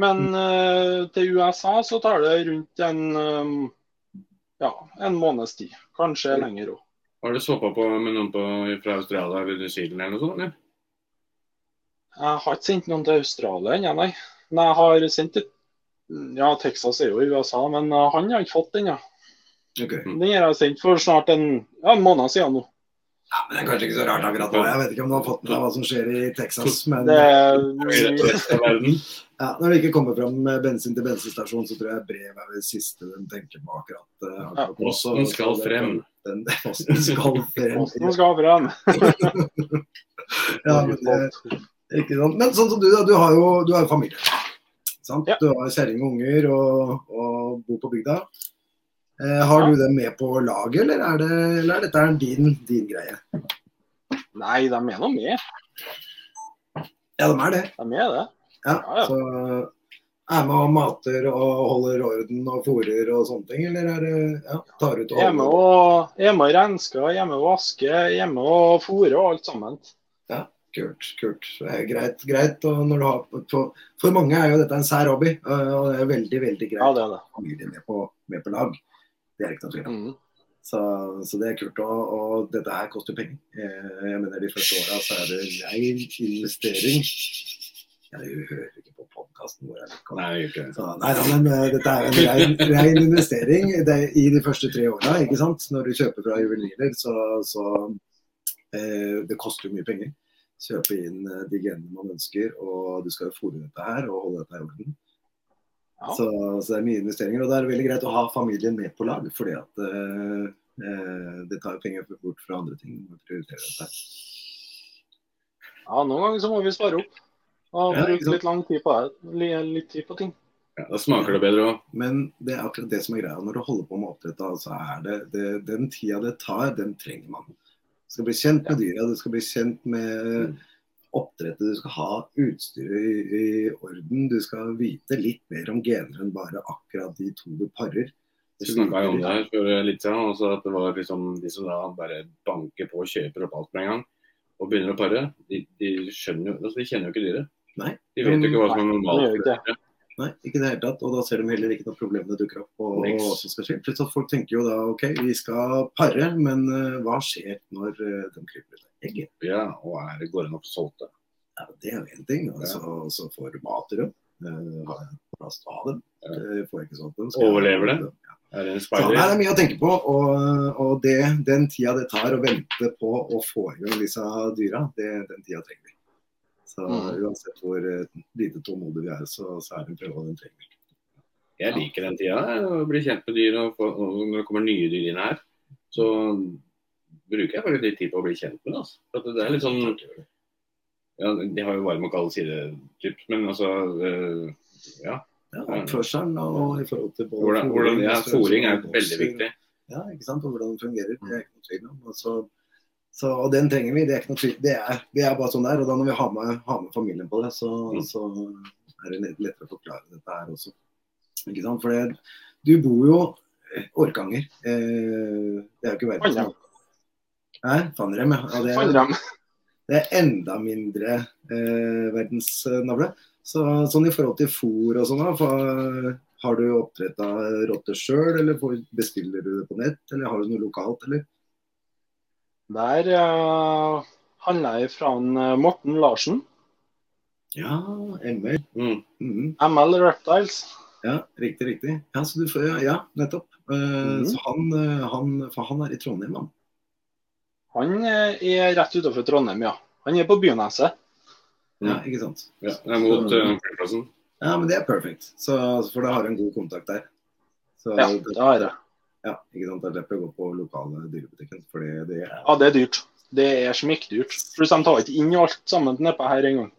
Men eh, til USA så tar det rundt en, um, ja, en måneds tid. Kanskje lenger òg.
Har du såpa på med noen på, fra Australia eller New Zealand eller noe sånt? Eller?
Jeg har ikke sendt noen til Australia ennå, nei. Men jeg har sendt et Ja, Texas er jo i USA, men eh, han har ikke fått den, ja.
Ok.
Den har jeg sendt for snart en, ja, en måned siden nå.
Ja, men det er kanskje ikke så rart akkurat nå. Jeg vet ikke om du har fått med deg hva som skjer i Texas, men
Det er
Eller
mye-
Resten av verden?
ja, når det ikke kommer fram med bensin til bensinstasjon, så tror jeg brev er det siste de tenker på akkurat. eh, akkurat nå. Så-
Posten skal
så det-
frem.
Den, posten skal
Posten
frem.
skal frem.
Ja, men eh, det, Ikke sant? Men sånn som du, da. Du har jo, du har jo familie. Sant?
Ja.
Du har kjerring og unger og, og bor på bygda. Eh, har
Ja.
du dem med på laget, eller er, det, eller er dette din, din greie?
Nei, de er nå med.
Ja, de er det.
De er det.
Ja.
Ja, ja.
Så er med og mater og holder orden og fôrer og sånne ting, eller er det ja, tar ut og
Hjemme
holder?
og, hjemme og renske, hjemme og vaske, hjemme og fôre og alt sammen.
Kult, kult. Det er greit, greit. Og når du har, for, for mange er jo dette en sær hobby, og det er veldig, veldig greit
Ja,
å
det er det.
ha familien med på, med på lag. Det er ikke noe tvil om.
Mm.
Så, så det er kult. Og, og dette her koster penger. Eh, Jeg mener de første åra så er det rein investering. Jeg hører ikke på podkasten vår. jeg vet ikke om-
Nei, jeg gjør ikke det.
Så, nei, da, men eh, dette er en rein, rein investering det, er i de første tre åra, ikke sant. Når du kjøper fra juvelirer, så, så eh, Det koster jo mye penger. Kjøpe inn eh, de genene man ønsker, og du skal jo fôre dette her og holde dette her i orden.
Ja.
Så, så det er mye investeringer. Og da er det veldig greit å ha familien med på lag, fordi at eh, eh, det tar jo penger bort fra andre ting. Du må prioritere dette.
Ja, noen ganger så må vi spare opp. Og
Ja, ikke
bruke
sant.
litt lang tid på det. li- Litt tid på ting.
Ja, da smaker det bedre òg.
Men det er akkurat det som er greia. Når du holder på med oppdrett, da, så er det, det den tida det tar, den trenger man. Du skal bli kjent med dyra, du skal bli kjent med
Mm.
oppdrettet, du skal ha utstyret i, i orden. Du skal vite litt mer om gener enn bare akkurat de to du parer.
Vi snakka jo om det her for litt siden. Også at det var liksom de som da bare banker på og kjøper opp alt med en gang og begynner å pare. De, de skjønner jo altså, De kjenner jo ikke dyret.
Nei.
De vet jo ikke hva som er
Nei, det gjør
normalt.
ikke
Nei, ikke i det hele tatt. Og da ser de heller ikke noe problem det dukker opp. Og, og
Niks.
hva som skal skje. Plutselig at folk tenker jo da OK, vi skal pare, men eh, hva skjer når eh, de kryper ut av egget?
Ja, og er det går an å få solgt det?
Ja, det er jo én ting. Og så, så får du mat til dem. Eh, har jeg plass til å ha dem?
Ja.
Eh, får jeg ikke sånn til dem?
Overlever
jeg-
det? Er det en
Så her Sånn er
speider?
det mye å tenke på. Og, og det, den tida det tar å vente på å få i gang disse dyra, det, den tida trenger vi. Så
Mm.
uansett hvor eh, lite tålmodige vi er, så, så er det en prøve, og den trenger vi.
Jeg liker den tida. jeg, Å bli kjent med dyr. Og, få- og når det kommer nye dyr inn her, så bruker jeg faktisk litt tid på å bli kjent med det. Altså. For at det er litt sånn ja, De har jo varm og kald side, typ, men altså eh, Ja.
Ja, oppførselen og i forhold til både
Hvordan, hvordan, ja,
størrelse
Fôring er
og
veldig
vokser.
viktig.
Ja, ikke sant? Og hvordan den fungerer. Det er ikke noe tvil om. Og, så, så, og den trenger vi. Det er, ikke noe tvil. Det, er, det er bare sånn det er. Og da når vi har med, har med familien på det, så,
Mm.
så er det litt lettere å forklare dette her også. Ikke sant? For det, du bor jo eh, Orkanger. Eh, det er jo ikke verdens
Fannrem.
Nei, Fannrem, ja. ja. det er-
Fant dem.
det er enda mindre eh, verdensnavle. Så, sånn i forhold til fôr og sånn, da, for, har du oppdretta rotter sjøl, eller får- bestiller du det på nett, eller har du noe lokalt, eller?
Der uh, handla jeg fra en, eh, Morten Larsen,
Ja, ML.
Mm.
Mhm.
ML Reptiles.
Ja, riktig, riktig. Ja, så du får, ja, ja nettopp. Eh,
Mhm.
Så han, eh, han, for han er i Trondheim, han.
Han eh, er rett utenfor Trondheim, ja. Han er på Byneset.
Ja, ikke sant.
Ja, det er mot eh, flyplassen.
Ja, men det er perfekt. Så, for da har du en god kontakt der. Så,
Ja, det har jeg.
Ja, ikke sant? Da slipper jeg å gå på lokale dyrebutikken. Fordi det er
Ja, det er dyrt. Det er smekkdyrt. Pluss de tar ikke inn alt sammen nedpå her engang.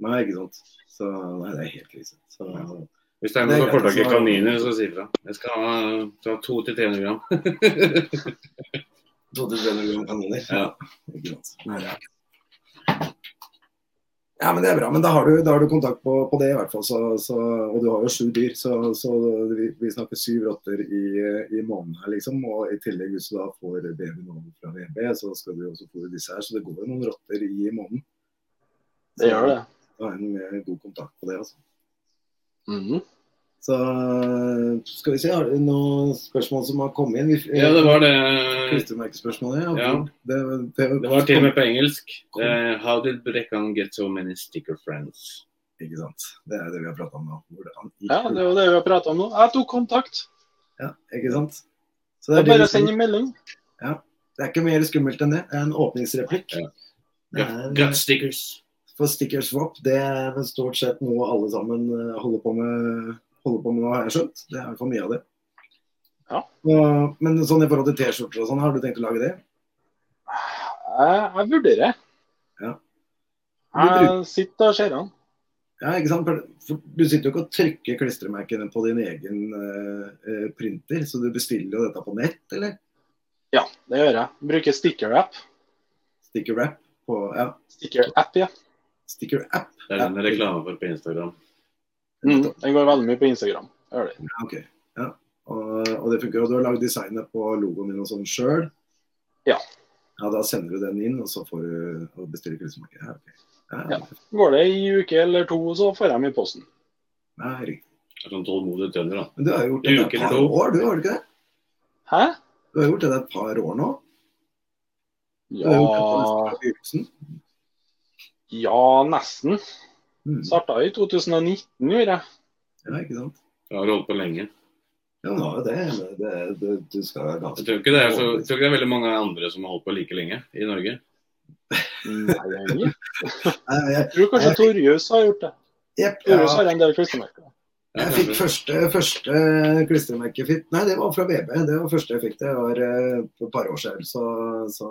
Nei, ikke sant. Så nei, det er helt krise. Så,
Hvis det er
Det er
noen som får tak i
greit, så-
kaniner, så si ifra. Jeg skal ha fra 2 til 300 gram.
2300 gram kaniner.
Ja.
Ikke sant. Nei, det er ikke ja, men det er bra. Men da har du, da har du kontakt på, på det, i hvert fall. Så, så, og du har jo sju dyr, så, så vi, vi snakker syv rotter i, i måneden her, liksom. Og i tillegg, hvis du da får babyen over fra VB, så skal du jo også fôre disse her. Så det går jo noen rotter i måneden.
Det gjør det.
Da har en eh, god kontakt på det, altså.
Mhm.
Så skal vi se, har du noen spørsmål som har kommet inn? Vi,
Ja, det var det.
Klistremerkespørsmålet, ja.
Eh, Ja.
Det, det,
Det var til og med på engelsk. Eh, how did Brekkan get so many sticker friends?
Ikke sant. Det er det vi har prata om nå. Hvor det, han,
Ja, det er jo det vi har prata om nå. Jeg tok kontakt.
Ja, ikke sant. Så det
Det er
er,
bare å
det,
sende en melding.
det er ikke mer skummelt enn det. Det er En åpningsreplikk.
Ja.
Det
Gut-
er,
Gut stickers.
for sticker swap, det er vel stort sett noe alle sammen eh, holder på med, holder på med nå, har jeg skjønt. Det er for mye av det.
Ja.
Og, men sånn i forhold til T-skjorter og sånn, har du tenkt å lage det?
Jeg, jeg vurderer.
Ja.
Jeg sitter og ser han.
Ja, ikke sant? For- For du sitter jo ikke og trykker klistremerkene på din egen eh, eh, printer, så du bestiller jo dette på nett, eller?
Ja, det gjør jeg. Bruker sticker-app.
Sticker wrap på ja,
Sticker-app, ja.
sticker app.
Det er den reklame for på Instagram.
Mm. Den går veldig mye på Instagram. Gjør det.
Ja, ok. Ja. Og, og det funker. Og du har lagd designet på logoen din og sånn sjøl?
Ja.
Ja, Da sender du den inn, og så får du og bestiller klistremerke. Ja, ok. Ja,
Ja. Går det ei uke eller to, så får jeg dem i posten.
ja, riktig.
Det er Sånn tålmodig tønder, da.
Men du har jo gjort det
Uke
et par
eller to.
år, du har du ikke det?
Hæ?
Du har gjort det et par år nå? Du har
Ja,
gjort det på nesten begynnelsen.
ja nesten.
Mm.
Starta i 2019, gjorde jeg.
Ja, ikke sant.
Jeg har holdt på lenge.
Ja, men du har jo det. men det, det du skal være
Jeg
ganske
tror ikke det er, så, jeg tror ikke det er veldig mange andre som har holdt på like lenge i Norge.
Nei, jeg
Nei, jeg,
tror kanskje Torjus har gjort det.
Jepp. Ja.
Torjus har en del klistremerker.
Ja,
Jeg fikk
kanskje.
første, første klistremerke fit. Nei, det var fra VB. Det var første jeg fikk. Det var eh, for et par år siden. Så, så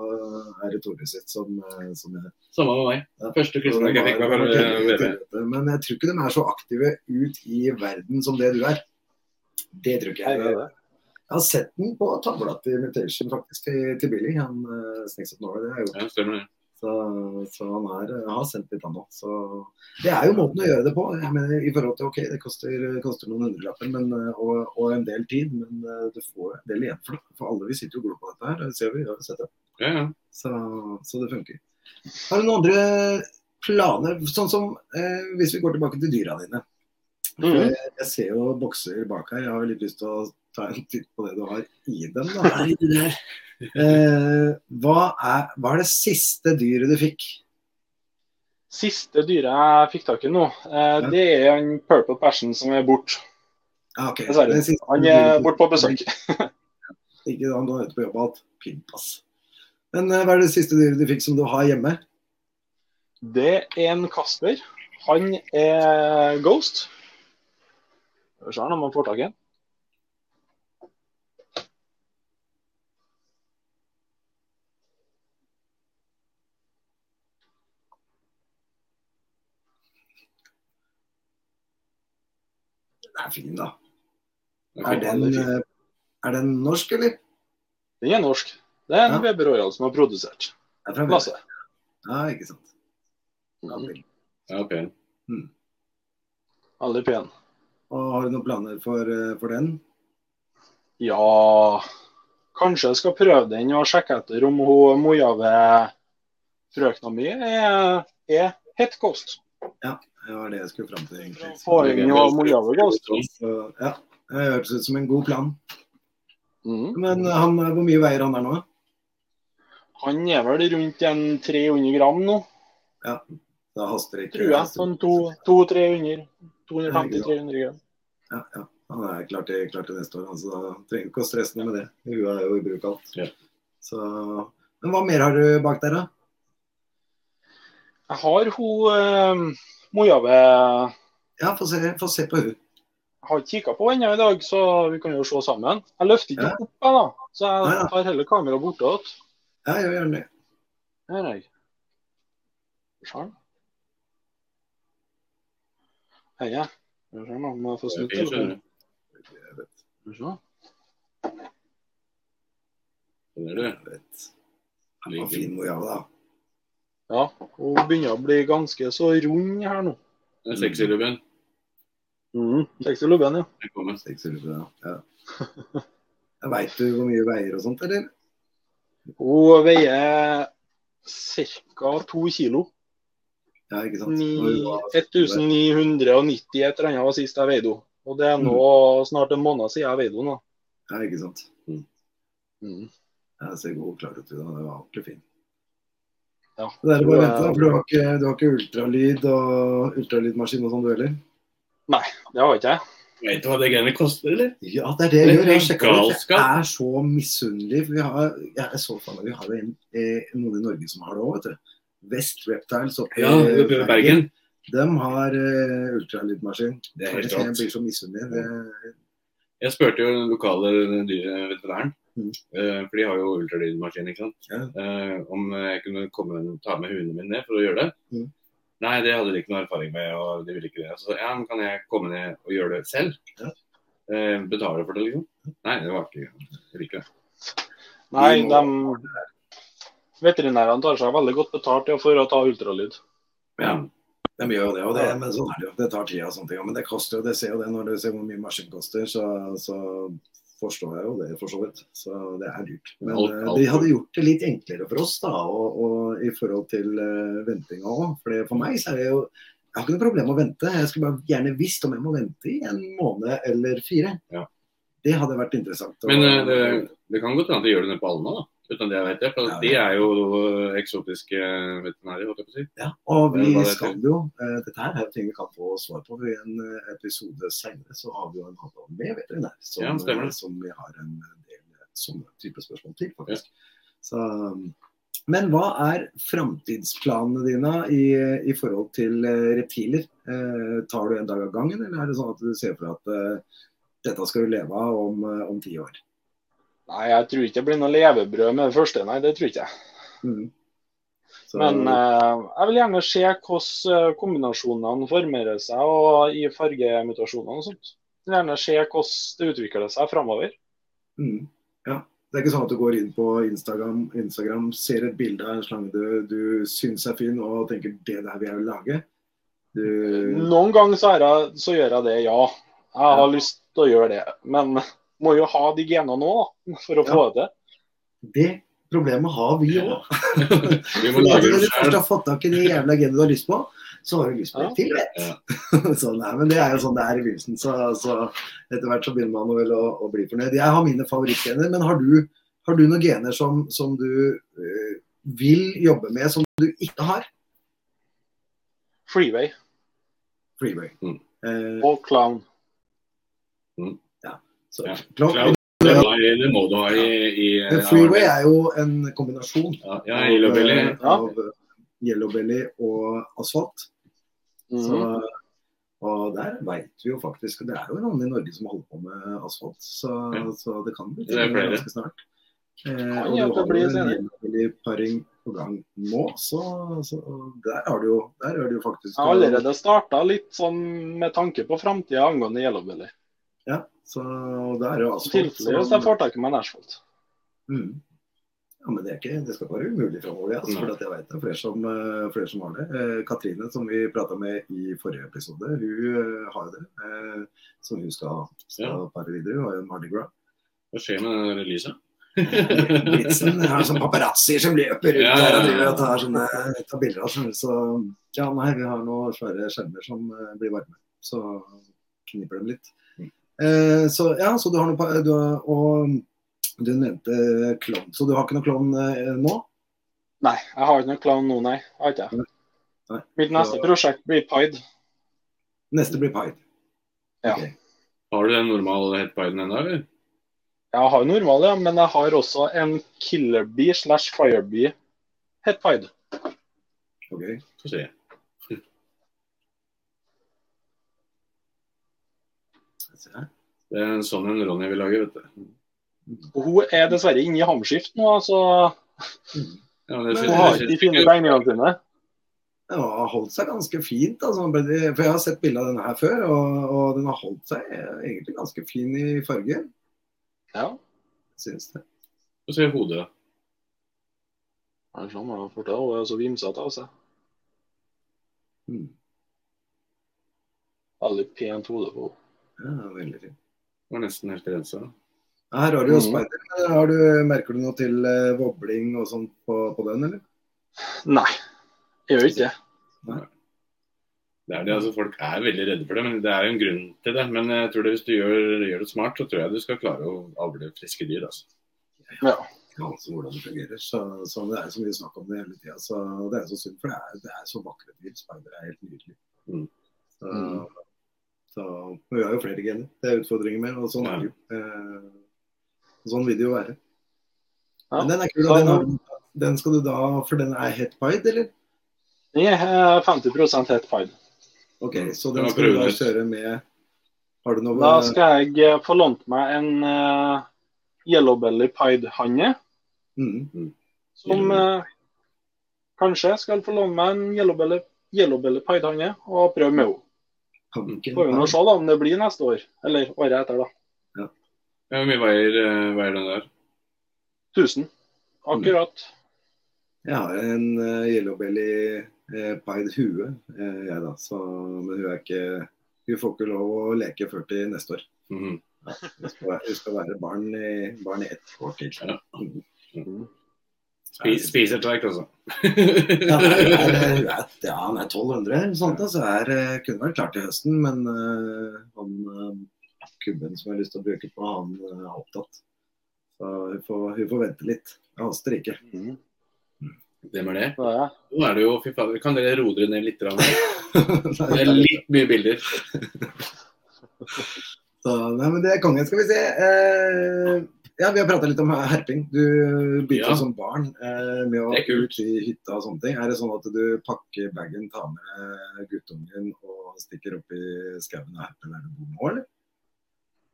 er det Tore sitt som, eh, som jeg
Samme med meg.
Ja.
Første
Så
kristne
det
jeg
var-
fikk, var
det var
bare eh,
til-
VB.
til dette. Men jeg tror ikke de er så aktive ut i verden som det du er. Det tror ikke
Her
jeg.
er det.
Jeg har sett den på tavla til Invitation faktisk, til, til Billy. Han eh, Snakes Up Norway. Det er jo
Ja, stemmer det.
Så, så han er, jeg har sendt litt annet. Så det er jo måten å gjøre det på. Jeg mener, i forhold til, ok, Det koster, koster noen hundrelapper men, eh, og, og en del tid, men eh, du får en del igjen for det. For alle vi sitter jo og glor på dette her. Det ser vi, vi har jo sett det.
Ja, ja.
Så, så det funker. Har du noen andre planer? Sånn som eh, hvis vi går tilbake til dyra dine.
Mhm.
Jeg ser jo bokser bak her. Jeg har jo litt lyst til å ta en titt på det du har i dem. Da. Eh, hva, er, hva er det siste dyret du fikk?
Siste dyret jeg fikk tak i nå, eh, det er en Purple Passion som er borte.
Ja, Ah, ok.
Dessverre.
Den siste
Han eh, er
dyret-
borte på besøk.
Ikke da, han er ute på jobb og alt. Pimp, ass. Men eh, hva er det siste dyret du fikk som du har hjemme?
Det er en Kasper. Han er Ghost. Skal vi se her om han får tak i den.
Den er fin, da.
Jeg
Er
fikk
den,
alle fire.
eh, er den norsk, eller?
Den er norsk. Det er en
Ja.
Weber Royal som har produsert.
Er fra
Lasse.
Ja, ikke sant. Ja, vel.
Ja, ok.
Veldig pen.
og har du noen planer for, eh, for den?
Ja Kanskje jeg skal prøve den og sjekke etter om hun mora ved frøkna mi er, er het Ghost.
Det var det jeg skulle fram til, egentlig.
Få inn og mora ved Ghost.
Så, ja, det hørtes ut som en god plan.
Mhm.
Men eh, han, hvor mye veier han der nå?
Han er vel rundt en 300 gram nå,
Da haster det ikke.
tror jeg. Sånn to- to- 300. 250-300 gram.
Ja, ja. Han er klar til, klar til neste år, altså, da trenger du ikke å stresse noe med det. Hun er jo i bruk alt.
Ja.
Så, men hva mer har du bak der, da?
Jeg har hun eh, mora ehm, ved
Ja, få se, få se på henne.
Jeg har ikke kikka på henne i dag, så vi kan jo se sammen. Jeg løfter ikke
Ja.
opp, jeg, da. Så
Ja, ja.
jeg tar heller kameraet bortåt.
Ja, gjør gjerne det.
Her er jeg. Skjønn. Hei, ja. Skjønn om jeg får snudd.
Jeg skjønner.
Skjønn.
Skjønner du?
Jeg vet. Det var fin mor, ja, da.
Ja, hun begynner å bli ganske så rund her nå.
Det er sexy, Ruben.
Mm. Sexy lubben, ja.
Jeg kommer.
Seks ulver, ja. ja. Veit du hvor mye veier og sånt, eller?
Hun veier ca. to kilo.
Ja, ikke sant? Og hun
Ni-
var-
1990 et eller annet var sist jeg veide henne. Og det er nå snart en måned siden jeg veide henne. da.
Ja, ikke sant?
Mm.
Jeg ser god klar ut i dag. Det var ordentlig fin.
Ja.
Det er bare å vente, da. For du har ikke, du har ikke ultralyd og ultralydmaskin og sånn, du heller?
Det har ikke jeg.
Vet du hva det greiene koster, eller?
Ja, det er det jeg
Det er
gjør. Jeg sjekker det. ut. Jeg
galskap.
er så misunnelig. for Vi har, jeg er så fan av, vi har jo en, eh, noen i Norge som har det òg, vet du. West Reptiles oppe i
Ja, oppe i Bergen.
De har eh, ultralydmaskin.
Det er helt
jeg
rått.
blir så misunnelig. Det-
Jeg spurte jo den lokale dyreveterinæren,
Mm.
eh, for de har jo ultralydmaskin, ikke sant.
Ja.
Eh, Om jeg kunne komme og ta med hundene mine ned for å gjøre det.
Mm.
Nei, det hadde de ikke noe erfaring med, og de ville ikke det. Så ja, men kan jeg komme ned og gjøre det selv?
Ja.
Eh, Betale for det, liksom? Nei, det var ikke jeg vil ikke det.
Nei,
Vi
de
må-
veterinærene tar seg veldig godt betalt ja, for å ta ultralyd.
Ja. De gjør jo det, og det, men sånn er det jo. Det tar tid og sånne ting. Men det koster jo, det ser jo det når du ser hvor mye maskin koster, så, så forstår jeg jo det for så vidt. Så det er dyrt. Men
Alt-
eh,
alt-
de hadde gjort det litt enklere for oss da, og, og i forhold til uh, ventinga òg. For for meg så er det jo Jeg har ikke noe problem med å vente. Jeg skulle bare gjerne visst om jeg må vente i en måned eller fire.
Ja.
Det hadde vært interessant. å-
Men eh, det, det kan godt hende at de gjør det nede på Alna, da. Uten det jeg vet det. For
Ja,
de
ja.
er jo eh, eksotiske veterinærer, holdt jeg på å si.
Ja, og vi
Det var det
skal jo eh, Dette her er jo ting vi kan få svar på. I en eh, episode senere så har vi jo en avtale med veterinær som, eh,
Ja, stemmer det.
som vi har en del eh, sånne type spørsmål til, faktisk. Så, um, men hva er framtidsplanene dine i, i forhold til eh, reptiler? Eh, tar du en dag av gangen, eller er det sånn at du ser for deg at eh, dette skal du leve av om, eh, om ti år?
Nei, jeg tror ikke det blir noe levebrød med det første. Nei, det tror ikke jeg.
Mhm. Så-
Men eh, jeg vil gjerne se hvordan eh, kombinasjonene formerer seg og i fargemutasjonene og sånt. Jeg vil gjerne se hvordan det utvikler seg framover.
Mm. Ja. Det er ikke sånn at du går inn på Instagram, Instagram ser et bilde av en slange du, du syns er fin og tenker det der vil jeg lage. Du,
Noen ganger så, er jeg, så gjør jeg det, ja. Jeg har lyst til å gjøre det. Men må jo ha de genene nå da, for å få det til.
det problemet har vi òg.
Vi må
Når
lage
du
det
først
selv.
har fått tak i de jævla genene du har lyst på, så har du lyst på
Ja.
et til, vet Så nei, men det er jo sånn det er i begynnelsen. Så, så etter hvert så begynner man vel å, å bli fornøyd. Jeg har mine favorittgener, men har du, har du noen gener som, som du øh, vil jobbe med, som du ikke har?
Freeway
Freeway.
Mm.
Eh,
og clown.
Så,
Ja.
Klopp-
Cloud, Det, var, det må du ha i, i
Men Freeway er jo en kombinasjon
Ja, ja Yellow Belly.
av, eh,
ja.
av yellowbelly og asfalt.
Mhm.
Så, og der veit vi jo faktisk Det er jo noen i Norge som holder på med asfalt, så,
Ja.
så det kan bli
Det er
til
flere.
ganske snart. Eh,
Kan
og du
jo at det
har
blir
jo en
senere.
yellowbelly-paring på gang nå, så, så der har du jo Der er det jo faktisk
Jeg har allerede starta litt sånn med tanke på framtida angående yellowbelly.
Ja, så og det er jo
I
asfalt.
tilfelle hvis jeg får tak i meg en asfalt.
Mm. Ja, men det, er ikke, det skal ikke være umulig framover. Ja, altså,
Nei.
for at jeg vet det er flere som, eh, flere som har det. Eh, Katrine, som vi prata med i forrige episode, hun eh, har jo det. Eh, som hun skal, skal
Ja.
pare videre. Hun har jo en Mardi Gras.
Hva skjer med den releasen?
Blitzen har sånne paparazzier som løper rundt
Ja, ja, ja.
her og driver og tar, sånne, tar bilder av sånne. Så ja, nei, vi har noen svære skjermer som eh, blir varme. Så kniper dem litt.
Mm.
Eh, så ja, så du har noe pa- du har, Og du nevnte klovn. Så du har ikke noe klovn eh, nå?
Nei, jeg har ikke noen clown nå, nei. Jeg har ikke.
Nei.
det. Mitt neste prosjekt blir Pied.
Neste blir Pied.
Ja.
Ok.
Har du den normale headpiden ennå, eller?
Jeg har normal, ja, men jeg har også en killerbee slash firebee het Pied.
ok.
Få se.
Se her.
Det er en sånn en Ronny vil lage, vet du.
Og Hun er dessverre inne i hamskift nå, så
Ja,
Men
det synes-
hun har
det
ikke de
synes-
fine tegningene sine.
Den har holdt seg ganske fint, altså, for jeg har sett bilde av denne her før. Og, og den har holdt seg eh, egentlig ganske fin i fargen,
Ja.
syns jeg.
Og så i hodet.
Han klamrer meg fort, hun er så vimsete av seg.
Mm.
Veldig pent hode på henne.
Ja, veldig fint.
Var nesten helt rensa.
Her har du jo
Mhm.
speider. men Har du, merker du noe til eh, wobling og sånt på, på den, eller?
Nei, jeg gjør ikke det.
Det er det, altså Folk er veldig redde for det, men det er jo en grunn til det. Men jeg tror det, hvis du gjør, gjør det smart, så tror jeg du skal klare å avle friske dyr. altså.
Jeg aner ikke hvordan det fungerer. Så, så det er så mye snakk om det hele tida. Så det er så synd, for det er, det er så vakre dyr. Speidere er helt nydelige.
Mm.
Mhm.
Så,
Mhm.
så men vi har jo flere gener. Det er utfordringer med, og sånn er det jo. Eh, sånn vil det jo være.
Ja. Sånn-
Men den er kul. og Den, har, den skal du da For den er het pied, eller?
Jeg er 50 helt feil.
OK,
Mm.
så
Den
den
har
skal du da
prøver.
kjøre med Har du noe
Da skal jeg eh, få lånt meg en uh, yellowbelly pied-hanne,
Mhm.
som eh, kanskje skal få låne meg en yellowbelly, yellowbelly pied-hanne og prøve med henne.
Hanken.
Får vi nå se da om det blir neste år, eller året etter, da.
Ja, Hvor mye veier, eh, veier den der?
1000. Akkurat.
Jeg har en uh, yellowbelly eh, pied hue, eh, jeg da. Så, men hun er ikke Hun får ikke lov å leke før til neste år.
Mhm.
Hun skal være, hun skal være barn, i, barn i ett år til.
Ja.
Mm.
Spi- Spiser tverk, altså.
Ja, hun er, hun er, ja, han er 1200 eller noe sånt, da, så er, eh, kunne vært klar til høsten. Men eh, han eh, kubben som jeg har lyst til å bruke på, han eh, er opptatt. Så hun får, hun får vente litt. Det haster ikke.
Mhm.
Hvem er det?
Det er jeg.
Nå er det jo, fy faen, Kan dere roe dere ned litt? grann? Det
Det
er litt mye bilder.
Så, nei, men det er kongen, skal vi se. Eh, ja, vi har prata litt om herping. Du begynte
Ja.
som barn eh, med å
Det er kult.
ut i hytta og sånne ting. Er det sånn at du pakker bagen, tar med guttungen og stikker opp i skauen og herper der du bor nå, eller?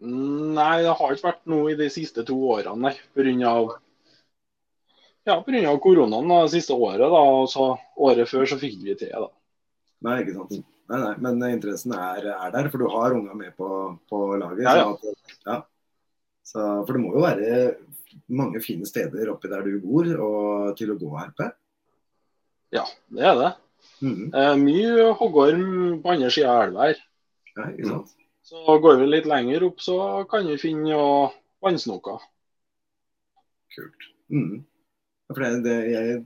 Mm, Nei, det har ikke vært noe i de siste to årene, nei. På grunn av ja, på grunn av koronaen da, det siste året, da, og så året før så fikk vi til da.
Nei, ikke sant. Nei, nei, men interessen er, er der, for du har unga med på, på laget.
Ja, ja.
sånn at- ja. Så, for det må jo være mange fine steder oppi der du bor og til å gå og herpe.
Det er det.
Mhm.
Eh, mye hoggorm på andre sida av elva her.
Ja, ikke sant.
Så går vi litt lenger opp, så kan vi finne ja, vannsnoker.
Kult.
Mm. Ja, For det, det, jeg,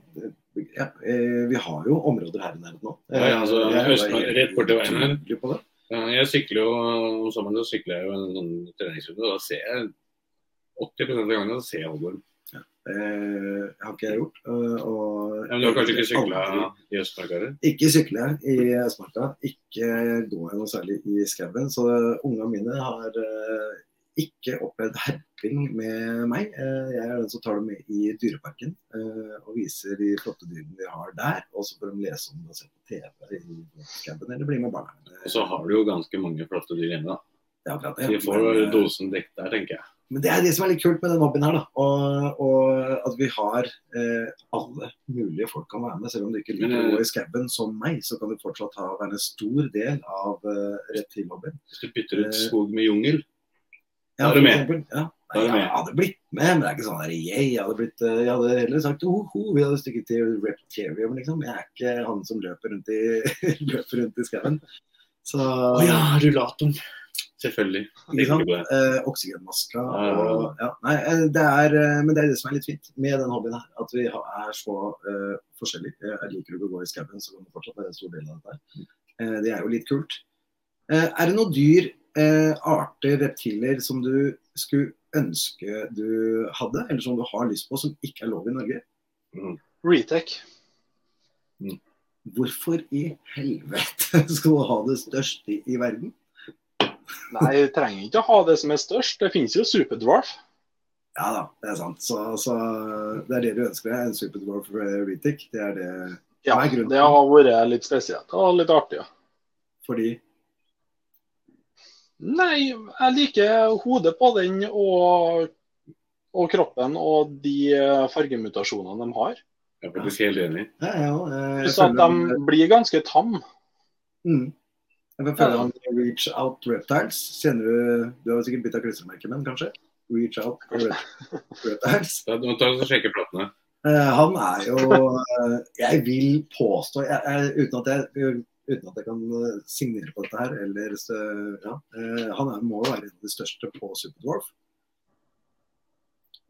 ja, eh, vi har jo områder her i nærheten nå.
Ja, ja, altså,
Jeg er
Østmark,
helt
rett borti veien her.
utrolig på det.
Ja, Jeg sykler jo om sommeren så sykler jeg jo en sånn treningsrunde. og Da ser jeg 80 av gangene så ser jeg hoggorm.
Eh, har ikke jeg gjort. eh, og,
Ja, men du har kanskje ikke
Aldri.
sykla i Østmarkaret?
Ikke sykle i Østmarka. Ikke gå jeg noe særlig i skauen. Så unga mine har eh, ikke opplevd herping med meg. Eh, jeg er den som tar dem med i Dyreparken eh, og viser de flotte dyrene vi har der. Og så får de lese om det og se på TV i skauen, eller bli med barna.
Og så har du jo ganske mange flotte dyr hjemme, da.
Det er akkurat det.
De
Men,
får
eh,
dosen dekket der, tenker jeg.
Men det er det som er litt kult med den hobbyen her, da. Og, og at vi har eh, alle mulige folk kan være med. Selv om du ikke liker
Men, eh,
å gå i skauen som meg, så kan du fortsatt ha, være en stor del av eh, rett til hobbyen.
Hvis du bytter
Eh,
ut skog med jungel
Ja,
Da er du
for
med.
eksempel, Ja.
Da er du
Nei,
med.
Jeg hadde blitt med, men det er ikke sånn der, yeah, jeg, hadde blitt, eh, jeg hadde heller sagt oho, vi hadde stykket til Reptarium, liksom. Jeg er ikke han som løper rundt i, løper rundt i skauen. Så
Å ja, rullatoren! Selvfølgelig.
Ikke
Tenker
sant?
du på det?
Eh, oksygenmaska
Ja, ja, ja.
og ja, nei, eh, det er, eh, Men det er det som er litt fint med den hobbyen her. At vi har, er så eh, forskjellige. Jeg liker ikke å gå i skauen, så kan det fortsatt være en stor del av dette. her. Eh, det er jo litt kult. Eh, er det noen dyr, eh, arter, reptiler som du skulle ønske du hadde, eller som du har lyst på, som ikke er lov i Norge?
Retech.
Hvorfor i helvete skal du ha det største i verden?
Nei, jeg trenger ikke å ha det som er størst. Det finnes jo superdwarf.
Ja da, det er sant. Så, så det er det du ønsker deg, en Superdwarf eh, Retic. Det er det
Ja,
Hva er grunnen?
det har vært litt spesielt og litt artig. ja.
fordi
Nei, jeg liker hodet på den og, og kroppen og de eh, fargemutasjonene de har.
Jeg er faktisk helt enig.
Ja, ja, eh, jeg
Pluss at
føler han-
de blir ganske tam.
Mm. Jeg føler han Reach Out Reptiles. Kjenner du Du har sikkert bytta klistremerke, men kanskje? Reach Out Rep- Reptiles.
Da, nå tar vi og sjekker platene.
Eh, han er jo eh, Jeg vil påstå, jeg, jeg, uten, at jeg, uten at jeg kan eh, signere på dette her, eller eh, ja, eh, Han er, må jo være en av de største på Superdwarf.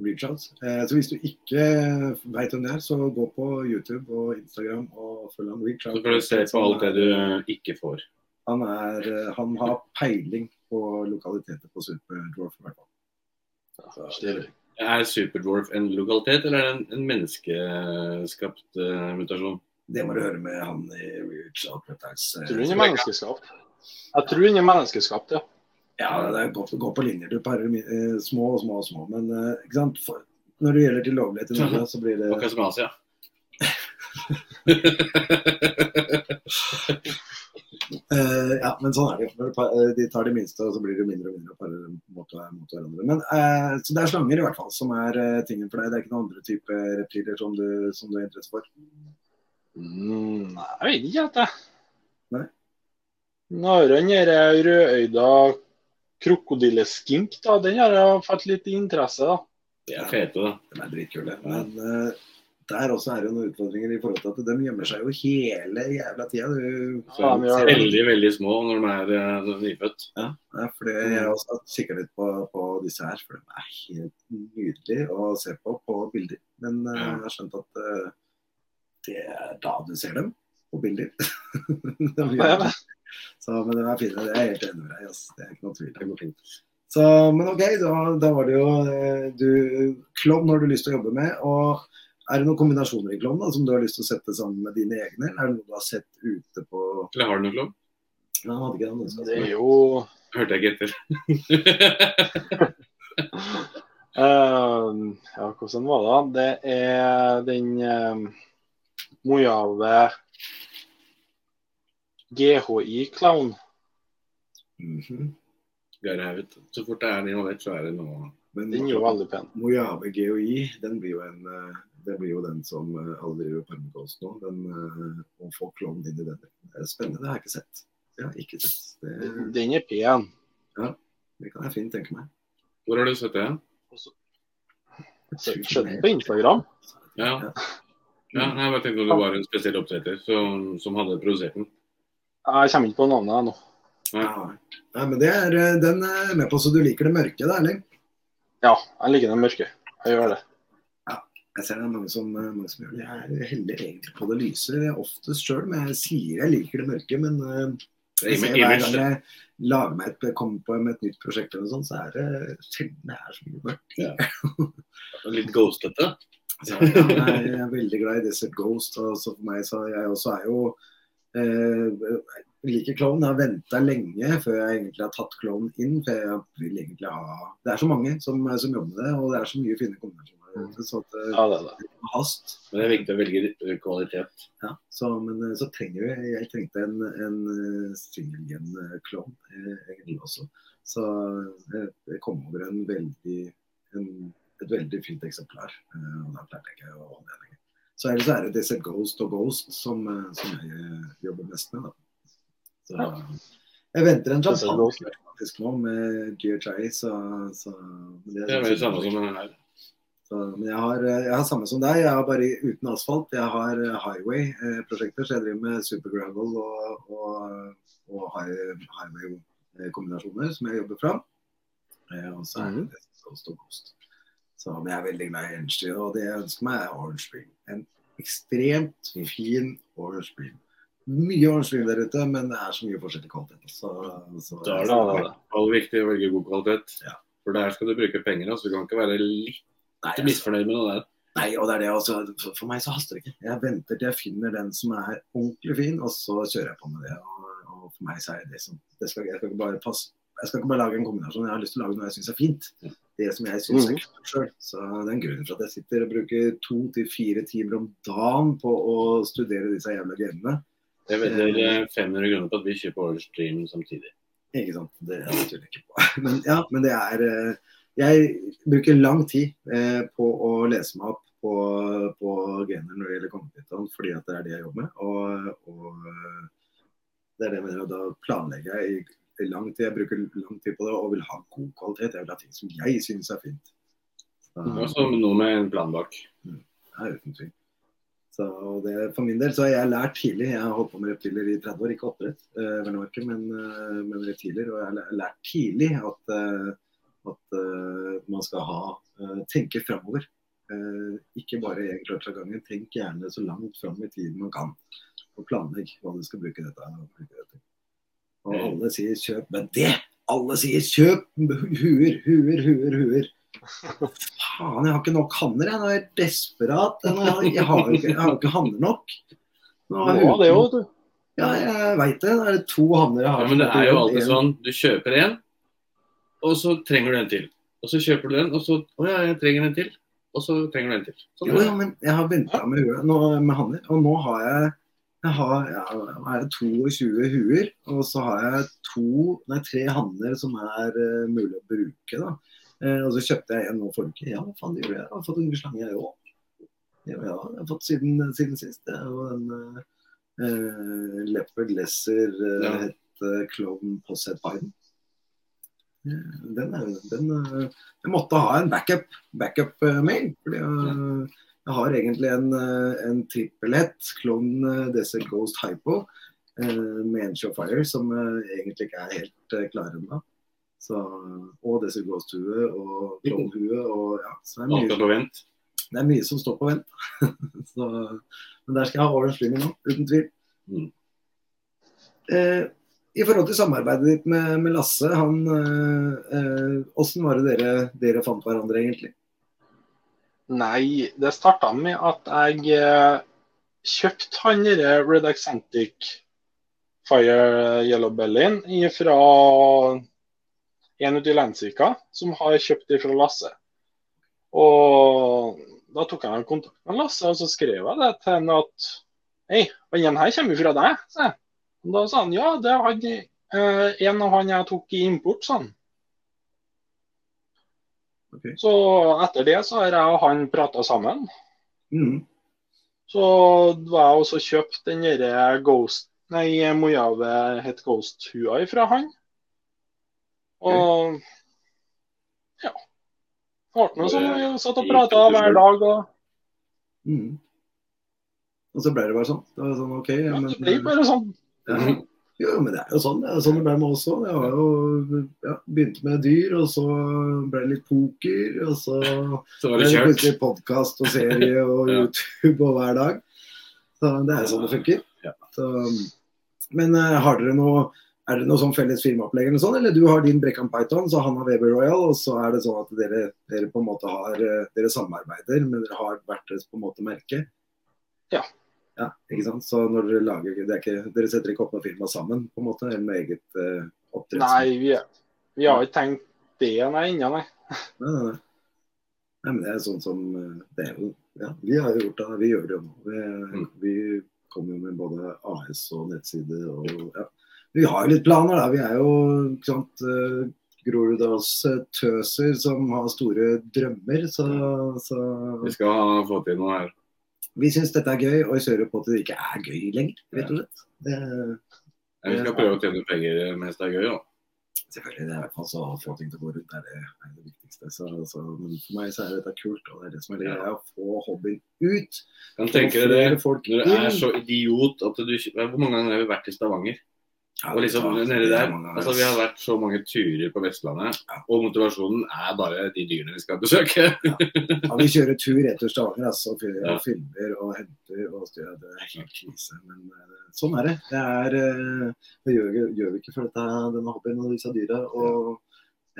Reach Out. Eh, så hvis du ikke veit hvem det er, så gå på YouTube og Instagram og følg han Reach
Så
Out.
får du se på alt det du ikke får.
Han, er, eh, han har peiling på lokaliteter på Superdwarf. i hvert fall.
Stilig.
Er Superdwarf en lokalitet, eller er det en, en menneskeskapt eh, mutasjon?
Det må du høre med han i Reach Out Reptiles. eh,
Tror hun er menneskeskapt. Jeg tror hun er menneskeskapt, ja.
Ja, det er godt å gå på linjer. Du parer eh, små og små og små. Men eh, ikke sant? For, når det gjelder til lovlighet i Norge, så blir det
Akkurat som Asia.
Eh, Ja, men sånn er det. jo. Når du pa- eh, de tar de minste, og så blir det mindre og mindre og parer mot, mot hverandre. Men, eh, så det er slanger i hvert fall som er eh, tingen for deg. Det er ikke noen andre type reptiler som du, som du er interesse for.
Mm, nei, jeg vet ikke, helt, jeg.
Nei.
Nå har den her rødøyda krokodilleskink, da. Den har jeg fått litt interesse, da.
De er fete, da.
De er dritkule. Men eh, der også er det noen utfordringer i forhold til at de gjemmer seg jo hele jævla tida. Du-
Ja, men jeg-
Veldig, veldig små når de er eh, nyfødt.
Ja, det er fordi jeg har også kikket litt på, på disse her, for de er helt nydelige å se på på bilder. Men eh,
Ja.
jeg har skjønt at eh, det er da du ser dem på bilder. Det er mye annet. så, men de er fine, det er jeg helt enig med deg ass. Det er ikke noe tvil.
Det går fint.
Så, men OK, da, da var det jo eh, du, Klovn har du lyst til å jobbe med. og er det noen kombinasjoner i klovn da, som du har lyst til å sette sammen med dine egne? eller Er det noe du har sett ute på
Eller har du noe klovn?
Nei, jeg hadde ikke den ønsket.
Det er jo
Hørte jeg ikke etter.
Eh, ja, hvordan var det? da? Det er den uh, Mojave GHI-clown.
Mhm.
Garehauget. Så fort det er det involvert, så er det noe
Men-
Den er jo veldig pen.
Mojave GHI, den blir jo, en, eh, det blir jo den som eh, alle driver og permer på oss nå. Den, eh, å få klovnen inn i den. Det er spennende, det har jeg ikke sett. Det har jeg ikke sett. Det,
Den er pen.
det kan jeg fint tenke meg.
Hvor har du sett det?
Så Skjønner den på Instagram.
Ja. ja nei, jeg bare tenkte om det var en spesiell oppdretter som, som hadde produsert den.
Jeg kommer ikke på navnet ennå.
Ja. Nei, men det er, eh, den er med på, så du liker det mørke, da, Erling?
Ja, jeg liker den mørke. Jeg gjør det.
Jeg ser det er mange som, eh, mange som gjør det. Jeg heller egentlig på det lyse oftest sjøl, men jeg sier jeg liker det mørke. Men eh, jeg
Det er
ser
im-
hver
image.
gang jeg lager meg et, kommer på med et nytt prosjekt, eller noe sånt, så er det sjelden det er så mye mørkt.
Litt ghostete.
Så, ja, nei, Altså, jeg er veldig glad i Desert Ghost. Og så for meg så jeg også er jo eh, jeg liker klovn. Jeg har venta lenge før jeg egentlig har tatt klovn inn. For jeg vil egentlig ha Det er så mange som, som jobber med det, og det er så mye fine kombinasjoner der ute. Så at eh,
Ja, det er det.
hast.
Men det er viktig å velge kvalitet.
Ja, så, men eh, så trenger vi Jeg trengte en, en eh, singelgen-klovn eh, egentlig også. Så eh, jeg kom over en veldig, en, et veldig fint eksemplar. eh, Og da klarte jeg ikke å holde det lenger. Så ellers er det Desert Ghost og Ghost som, eh, som jeg eh, jobber mest med. Da. Så jeg venter en
Desert Ghost.
champagne faktisk nå med GHI, så, så men
Det er vel det samme som den her.
så, men jeg har, eh, jeg har samme som deg, jeg har bare uten asfalt. Jeg har eh, highway-prosjekter, så jeg driver med supergravel og, og, og hi- highway-kombinasjoner som jeg jobber fra. Eh, Og så er det
Mhm.
det som står kost. Så men jeg er veldig glad i Enstry, og det jeg ønsker meg er Orange Spring. En ekstremt fin Orange Spring. Mye Orange Spring der ute, men det er så mye forskjellig kvalitet. Så, så,
Da er
Ja, det, er det.
Aller viktig å velge god kvalitet.
Ja.
For der skal du bruke penger, altså. Du kan ikke være litt
Nei, jeg-
misfornøyd med noe der.
Nei, og det er det også. For- For meg så haster det ikke. Jeg venter til jeg finner den som er ordentlig fin, og så kjører jeg på med det. Og, og for meg så er det det som det skal, Jeg skal ikke bare passe jeg skal ikke bare lage en kombinasjon, jeg har lyst til å lage noe jeg syns er fint. Det som jeg syns er
Mhm.
kult sjøl. Så det er en grunn for at jeg sitter og bruker to til fire timer om dagen på å studere disse jævla genene.
Jeg vedder eh, 500 kroner på at vi kjøper Orange Stream samtidig.
Ikke sant. Det tviler jeg ikke på. Men ja, men det er eh, Jeg bruker lang tid eh, på å lese meg opp på, på gener når det gjelder kongepyton, fordi at det er det jeg jobber med. Og, og eh, det er det jeg mener, og da planlegger jeg i, i lang tid. Jeg bruker lang tid på det og vil ha god kvalitet. Jeg vil ha ting som jeg syns er fint. Så,
Det var som noe med en plan bak.
ja, uten tvil. Så og det, for min del så har jeg lært tidlig. Jeg har holdt på med reptiler i 30 år, ikke oppdrett, eh, vel å merke, men, eh, men reptiler. Og jeg har læ- lært tidlig at, eh, at eh, man skal ha eh, tenke framover. Eh, ikke bare én klart av gangen. Tenk gjerne så langt fram i tiden man kan. Og planlegg hva du skal bruke dette og bruke det til. Og alle sier kjøp, men det! Alle sier kjøp huer, huer, huer, huer. Faen, jeg har ikke nok hanner. Jeg Nå er jeg desperat. Jeg har, jeg har, jo ikke, jeg har jo ikke hanner nok. Nå har jeg
Noe av det òg, du.
Ja, jeg veit det. Det er to hanner jeg
Ja,
har.
men det er jo alltid sånn, du kjøper en, og så trenger du en til. Og så kjøper du den, og så Å ja, jeg trenger en til. Og så trenger du en til. Sånn
Jo,
er
ja, men jeg har venta med, huet- nå- med hanner, og nå har jeg jeg har ja, nå er det 22 huer, og så har jeg to, nei, tre hanner som er eh, mulig å bruke. da. Eh, og så kjøpte jeg en nå forrige uke. Ja, hva faen det gjorde jeg? Jeg har fått en slange, jeg òg. Ja, ja, jeg har fått siden, siden sist. Det er jo en eh, eh, leopard lesser eh,
Ja.
hette klovn Posset Biden. Eh, Den, er, den eh, Jeg måtte ha en backup, backup eh, mail. Fordi eh, jeg har egentlig en, eh, en trippelhett, Clone eh, Desert Ghost Hypo, eh, med en Showfire, som eh, egentlig ikke er helt eh, klar ennå. Så, Og Desert Ghost-hue og Clone-hue. og ja, så det
det.
er
Alt
mye
er på vent.
det er mye som står på vent. så, men der skal jeg ha Orange Slinger nå, uten tvil.
Mm.
Eh, I forhold til samarbeidet ditt med, med Lasse, han eh, eh, Hvordan var det dere, dere fant hverandre, egentlig?
Nei, det starta med at jeg eh, kjøpte han derre Red Accentic Fire Yellow Bellyen fra en ute i Landsvika som har kjøpt det fra Lasse. Og da tok jeg en kontakt med Lasse, og så skrev jeg det til han at Hei, den her kommer jo fra deg, sa jeg. Og da sa han ja, det er han, eh, en av han jeg tok i import, sa han.
Ok.
Så etter det så har jeg og han prata sammen.
Mm.
Så var jeg også kjøpt den derre Ghost Nei, Mojave het Ghost-hua fra han. Og ja. Det ble noe sånn vi satt og prata hver dag. Og
Mm. Og så ble det bare sånn. Det var sånn, ok,
ja,
men,
det ble bare sånn.
Ja.
Mhm.
Jo, men det er jo sånn det, er jo sånn det ble med oss òg. Jeg har jo ja, begynt med dyr, og så ble det litt poker, og så
Så var
Det
det
er
kjørt.
plutselig podkast og serie og
Ja.
YouTube og hver dag. Så det er sånn det funker.
Ja.
Så, men eh, har dere noe er det noe sånn felles firmaopplegg eller sånn, eller du har din Brekkan Python, så han har Weber Royal, og så er det sånn at dere, dere på en måte har eh, dere samarbeider, men dere har hvert deres på en måte merke?
Ja.
Ja, ikke sant? Så når dere lager det er ikke, Dere setter ikke opp noe firma sammen, på en måte, eller med eget eh, oppdretts-
Nei, vi, vi har ikke tenkt det nei, ennå, nei.
Nei, nei, nei. nei, men det er sånn som eh, det er jo, ja, Vi har jo gjort det, vi gjør det jo nå. Vi,
Mm.
vi kommer jo med både AS og nettside og ja. Vi har jo litt planer, da. Vi er jo ikke sant, eh, Groruddalstøser eh, som har store drømmer. Så, så
Vi skal få til noe her.
vi syns dette er gøy, og vi kjører på til det ikke er gøy lenger, rett og slett. Det,
Ja, Vi skal prøve å tjene penger mens det er gøy, da.
selvfølgelig, det er i hvert fall så å få ting til å gå rundt, det er det, er det viktigste. Så, så, men for meg så er dette kult, og det er det som er det greia. Å få hobbyen ut.
Kan tenke deg det.
Flere folk
Når du er
inn.
så idiot at du Hvor mange ganger har vi vært i Stavanger?
Ja,
Og liksom
det er
nede der,
mange ganger,
altså Vi har vært så mange turer på Vestlandet, og motivasjonen er bare de dyrene vi skal besøke.
Ja, vi kjører tur rett til Stavanger altså, og fyller-
Ja.
og filmer og henter og styrer. Det er helt krise. Men eh, sånn er det. Det, er, eh, det gjør, vi- gjør vi ikke for dette, denne hobbyen og disse dyra. Og,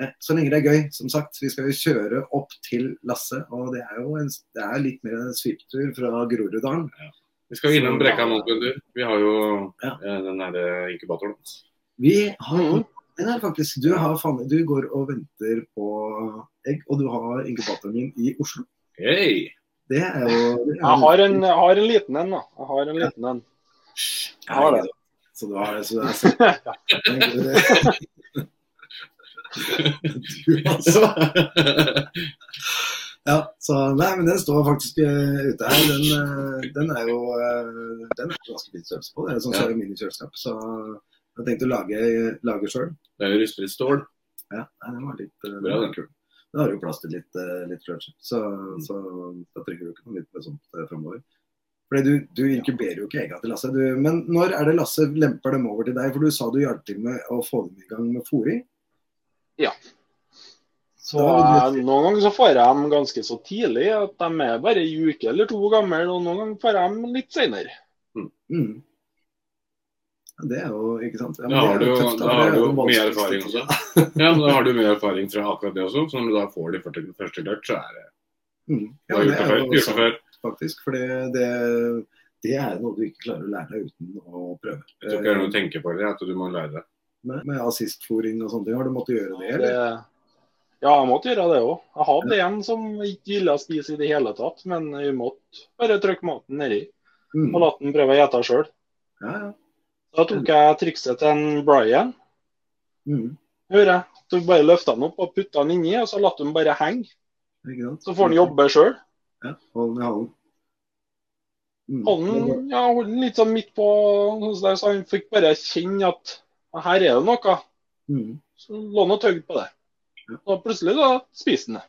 eh, så lenge det er gøy, som sagt. Vi skal jo kjøre opp til Lasse. Og det er jo en, det er litt mer en svipptur fra Groruddalen.
Vi skal innom Brekka nå på en tur. Vi har jo
Ja.
eh, den derre inkubatoren.
Vi har den her faktisk. Du, har, faen- du går og venter på egg, og du har inkubatoren min i Oslo.
Hei!
Det er jo det er jo-
Jeg har en, jeg har en liten en, da. Jeg har en liten en.
Ja,
Har
ikke
det.
sant. Så det var så det er sant. Du, altså. Ja, så nei, men den står faktisk eh, ute her. Den, eh, den er jo eh, den er jo ganske fin størrelse på. Det er sånn
Ja.
ja. minikjøleskap. Så jeg tenkte å lage, lage sjøl.
Det er jo rustfritt stål.
Ja, nei, den var litt eh, den
Bra,
var
den. Mm.
kul. Da har du jo plass til litt, eh, litt rødskjøp, så, så da trenger du ikke noe nytt med sånt framover. Fordi du, du inkuberer jo ikke egga til Lasse. Du, men når er det Lasse lemper dem over til deg? For du sa du hjalp til med å få dem i gang med fôring.
Så eh, Noen ganger så får jeg dem ganske så tidlig at de er bare en uke eller to gamle, og noen ganger får jeg dem litt senere.
Mm. Ja, det er jo ikke sant. Ja, men det
Da har
er
du
jo
jo
tøft, da.
da
Det er
har du
jo
jo mye
voldsomt.
erfaring også. Ja, men da har du mye erfaring fra akkurat det også, så når du da får de første- første dørt, så er det
Mm.
Du
Ja,
har
men
gjort det før.
jo
Gjort det
sant.
før.
faktisk. For det, det, det er noe du ikke klarer å lære deg uten å prøve.
Jeg tror ikke det er noe å tenke på det, at du må lære det.
Med, med assistfòring og sånne ting, har du måttet gjøre det?
Det,
Eller?
ja, jeg måtte gjøre det òg. Jeg hadde en som ikke ville spise i det hele tatt, men vi måtte bare trykke maten nedi
Mm.
og la den prøve å gjete sjøl.
Ja, ja.
Da tok jeg trikset til en Brian,
Mm.
hører jeg. Du bare løfta den opp og putta den inni, og så lot du den bare henge.
Ikke sant?
Så får den jobbe sjøl.
Ja, hold den i halen. Mm.
Hold den ja, hold den litt sånn midt på, sånn som det er, så han fikk bare kjenne at "Ja, her er det noe.
Mm.
Så lå han og tøgde på det. Og plutselig da spiste han det.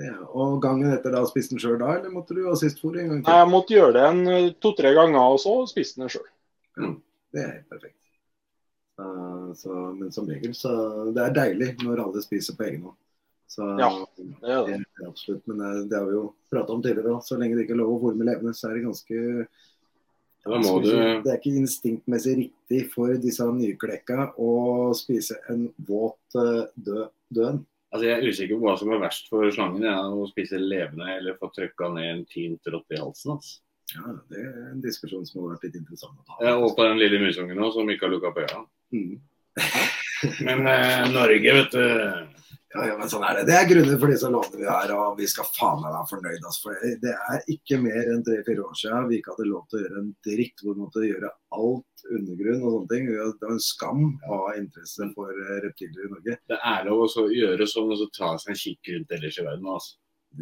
Det er- Og gangen etter da spiste den sjøl da, eller måtte du assistfòre en gang til?
Jeg måtte gjøre det en eh, to-tre ganger, og så spiste han det sjøl.
Det er helt perfekt. Eh, så, men som regel så Det er deilig når alle spiser på egen hånd. Så
Ja. Det er det.
det er absolutt. Men eh, det har vi jo prata om tidligere òg. Så lenge det ikke er lov å fôre med levende, så er det ganske
Da må
Skal vi si,
du-
Det er ikke instinktmessig riktig for disse nyklekka å spise en våt eh, død døden.
Altså, Jeg er usikker på hva som er verst for slangen. Ja, å spise levende eller få trykka ned en tint rott i halsen. Altså.
Ja, det er en diskusjon som hadde vært litt interessant å ta.
Ja, og på den lille musungen nå, som ikke har lukka på øya.
Mm.
Men eh, Norge, vet du.
Ja, ja, men sånn er det. Det er grunner for disse lånene vi har, og vi skal faen meg være fornøyd. Altså, for det- det er ikke mer enn tre-fire år siden vi ikke hadde lov til å gjøre en dritt. Hvor vi måtte gjøre alt undergrunn og sånne ting. Vi har- Det var en skam å ha interesse for eh, reptiler i Norge.
Det er lov å så gjøre sånn og så ta seg en kikk rundt ellers i verden. altså.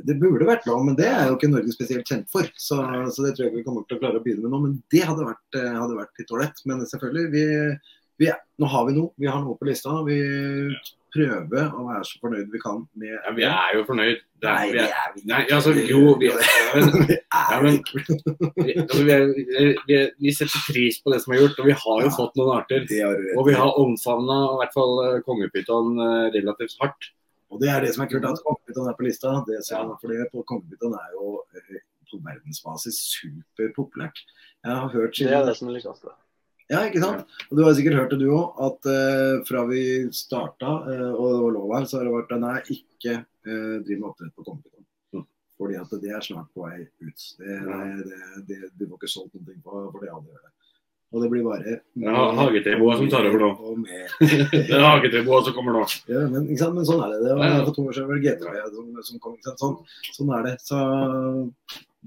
Det burde vært lov, men det er jo ikke Norge spesielt kjent for. Så, så det tror jeg ikke vi kommer til å klare å begynne med nå. Men det hadde vært, eh, hadde vært litt ålreit. Men selvfølgelig, vi, vi, er- nå har vi noe. Vi har noe på lista. Vi prøver å være så fornøyd vi kan med
Ja, vi er jo fornøyd. Det
Nei,
er, vi er,
vi
nei, altså, jo, vi er, men,
Vi er
ja, men vi, altså, vi, er, vi, er, vi setter pris på det som er gjort, og vi har jo fått noen arter.
Det har du rett
Og vi
i.
har omfavna i hvert fall eh, kongepyton eh, relativt hardt.
Og det er det som er kult, at kongepyton er på lista. Det ser
Ja.
man, fordi på kongepyton er jo eh, på verdensbasis superpopulært. Jeg har hørt
Det er
siden
det som er likest.
Ja, ikke sant? Og du har sikkert hørt det du òg, at eh, fra vi starta eh, og det var lov her, så har det vært nei, ikke eh, driv med oppdrett på kongepyton.
Mm.
Fordi at det er snart på vei ut. Det,
Ja.
det, det, det, du får ikke solgt noen ting på for det alle gjør det. Og det blir bare
Ja, hageteboa som tar over nå.
Og mer.
Det er hagetreboa som kommer nå.
Ja, men, ikke sant? men sånn er det. det var,
Ja, ja.
For to år siden var det GTV som, som kom. Ikke sant? Sånn, sånn er det. Så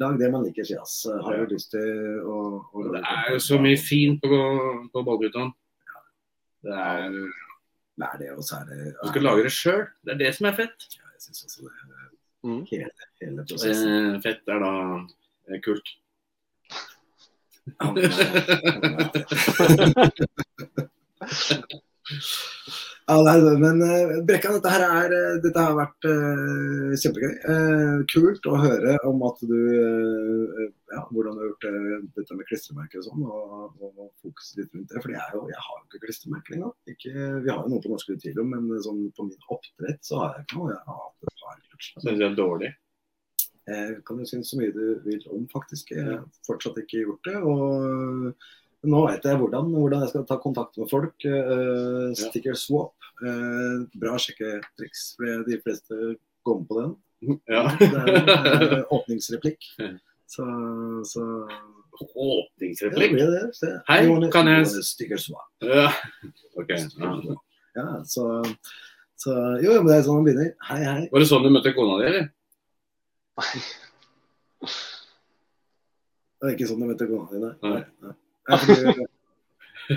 lag det man liker, sier ass. Har du lyst til å, å
Det er jo så mye fint på, på ballguttan. Det er, du
Det er det, og så er det
skal lage det sjøl. Det er det som er fett.
Ja, jeg synes også det.
Mm.
Hele, hele prosessen.
Eh, fett er da eh, kult.
Ja, men, ja, men, Ja, nei, det- men eh, Brekkan, dette her er, eh, dette har vært eh, kjempegøy. Eh, kult å høre om at du eh, ja, hvordan du har gjort eh, dette med klistremerker og sånn, og, og fokus litt rundt det. For jeg, er jo, jeg har jo ikke klistremerker engang. Ikke, vi har jo noe på norske utvilere, men sånn, på min oppdrett så har jeg ikke noe. Jeg har hatt et par
Syns jeg er dårlig.
Eh, kan du synes så mye du vil om, faktisk. Jeg
Mm.
har fortsatt ikke gjort det. Og nå vet jeg hvordan, hvordan jeg skal ta kontakt med folk. Eh, sticker swap. Eh, bra sjekketriks, for de fleste går med på den.
Ja.
Det er en eh, åpningsreplikk. Så, så ja, det
Åpningsreplikk.
blir det. Så,
Hei,
you wanna-
kan jeg-
you wanna Sticker swap.
Ja. Ok. Ja.
Ja, så, så Jo, jo, men det er sånn man begynner. Hei, hei.
Var det sånn du møtte kona di, eller?
Det er ikke sånn de møter kona di, nei.
Nei.
Nei, fordi-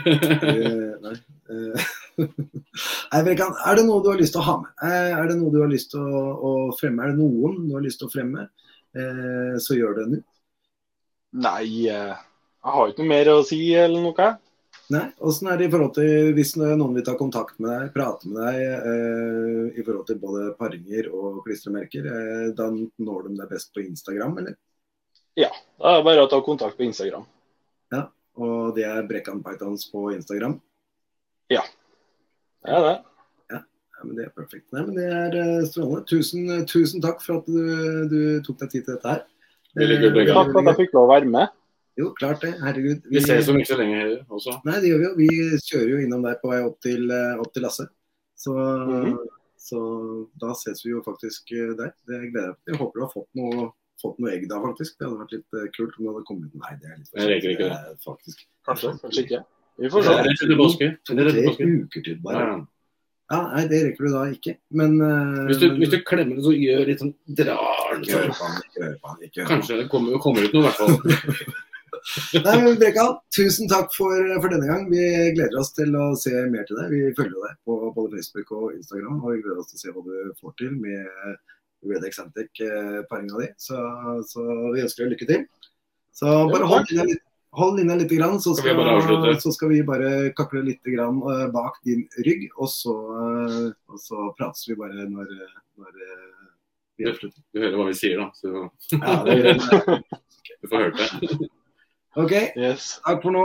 Eh, nei. Eh, Nei, Brekan, er det noe du har lyst til å ha med? Eh, Er det noe du har lyst til å, å fremme? Er det noen du har lyst til å fremme? Eh, så gjør det nå.
Nei, eh, jeg har ikke noe mer å si eller noe.
Nei, Åssen er det i forhold til hvis noen vil ta kontakt med deg, prate med deg eh, i forhold til både paringer og klistremerker? Eh, da når de deg best på Instagram, eller?
Da er det bare å ta kontakt på Instagram.
Og det er Brekkan Pythons på Instagram?
Det er det.
Ja, men det er perfekt. Nei, men det er eh, strålende. Tusen, tusen takk for at du, du tok deg tid til dette her. Eh,
Veldig kult, Brekkan.
Takk for at jeg fikk lov å være med.
Jo, klart det. Herregud.
Vi ses om ikke så lenge heller også.
Nei, det gjør vi jo. Vi kjører jo innom der på vei opp til, eh, opp til Lasse. Så,
Mhm.
så da ses vi jo faktisk eh, der. Det gleder jeg meg til. Jeg håper du har fått noe, fått noe egg da, faktisk. Det hadde vært litt eh, kult om det hadde kommet Nei, det er litt for
Jeg reker
sent,
ikke
eh, Faktisk.
Kanskje, kanskje ikke. Vi får se.
Rett etter påske.
To,
Rett etter
tre
påske.
uker til, bare.
Ja.
Ja, nei, det rekker du da ikke. Men eh,
Hvis du,
men-
hvis du klemmer det, så gjør litt sånn drar den
Ikke hør
sånn.
på han, ikke hør på han. Ikke hør på han.
Kanskje det kommer, kommer ut noe, i hvert fall.
Nei, men Brekan, tusen takk for, for denne gang. Vi gleder oss til å se mer til deg. Vi følger deg på både Facebook og Instagram, og vi gleder oss til å se hva du får til med Red eh, Excentric-paringa di. Så, så vi ønsker deg lykke til. Så bare
Jo,
hold
takk.
linja litt. Hold linja litt, grann, så,
Skal vi
skal,
bare avslutte?
så skal vi bare kakle litt grann, eh, bak din rygg. Og så, eh, og så prates vi bare når, eh, når eh, vi avslutter.
Du hører hva vi sier, da. Så
Ja, det er greit.
du får hørt det.
OK,
Yes.
takk for nå.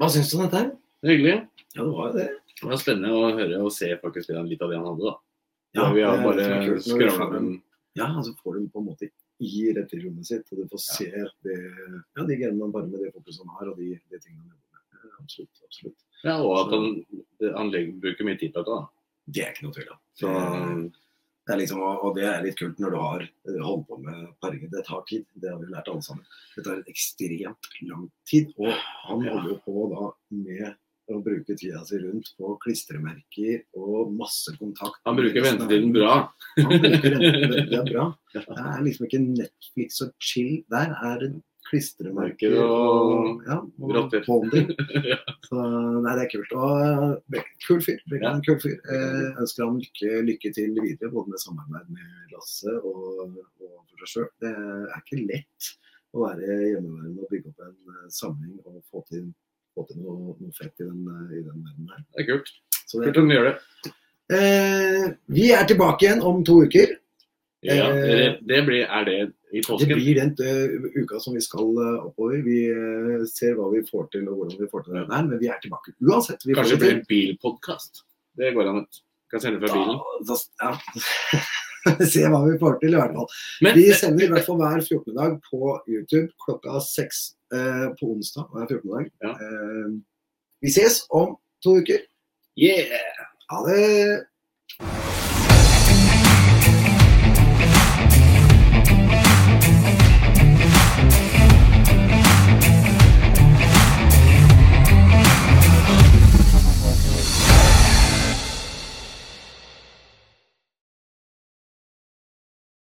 Hva syns du om dette? her?
Det er Hyggelig.
Ja, det var jo det.
Det var spennende å høre og se faktisk det han- litt av det han hadde, da.
Ja,
vi har
det er
bare
liksom kult når du
skravla
får
med
dem- Ja, altså får du den på en måte i reptilrommet sitt, og du får se det, ja, de genene han bare med det fokuset han har, og de, de tingene han jobber med. Ja, Absolutt. absolutt.
Ja, og at han, han legger, bruker mye tid på dette, da.
Det er ikke noe tvil om.
Så
Det er liksom, og og det er litt kult når du har eh, holdt på med paringer. Det tar tid, det har vi lært alle sammen. Det tar en ekstremt lang tid. Og han
Ja.
holder jo på da med å bruke tida si rundt på klistremerker og masse kontakt.
han
med
bruker
resten av
ventetiden
verden.
bra.
Han bruker den, det er bra. Det er liksom ikke Netflix og chill. Der er det klistremerker
Merker og-
og, ja, og
Rotter.
bonding. Så nei, det er kult. Og eh, Beck- kul fyr. Beck er en kul fyr. Eh, ønsker han lykke, lykke til videre, både med samarbeid med Lasse og, og for seg sjøl. Det er ikke lett å være hjemmeværende og bygge opp en eh, samling og få til, få til noe, noe fett i den, eh, i den verden her.
Det er kult.
Så det,
Kult om du gjør det.
eh, vi er tilbake igjen om to uker.
Ja,
Eh,
det, det blir, er det i
Det
påsken?
blir den eh, uka som vi skal eh, oppover. Vi eh, ser hva vi får til og hvordan vi får til dette her, men vi er tilbake uansett. Vi får
Kanskje det blir
til.
en bilpodkast? Det går an. ut. Kan sende fra bilen.
Da, da, ja. Se hva vi får til, i hvert fall.
Men
Vi sender i hvert fall hver 14. dag på YouTube klokka seks eh, på onsdag hver 14. dag.
Ja.
Eh, vi ses om to uker.
yeah!
Ha det!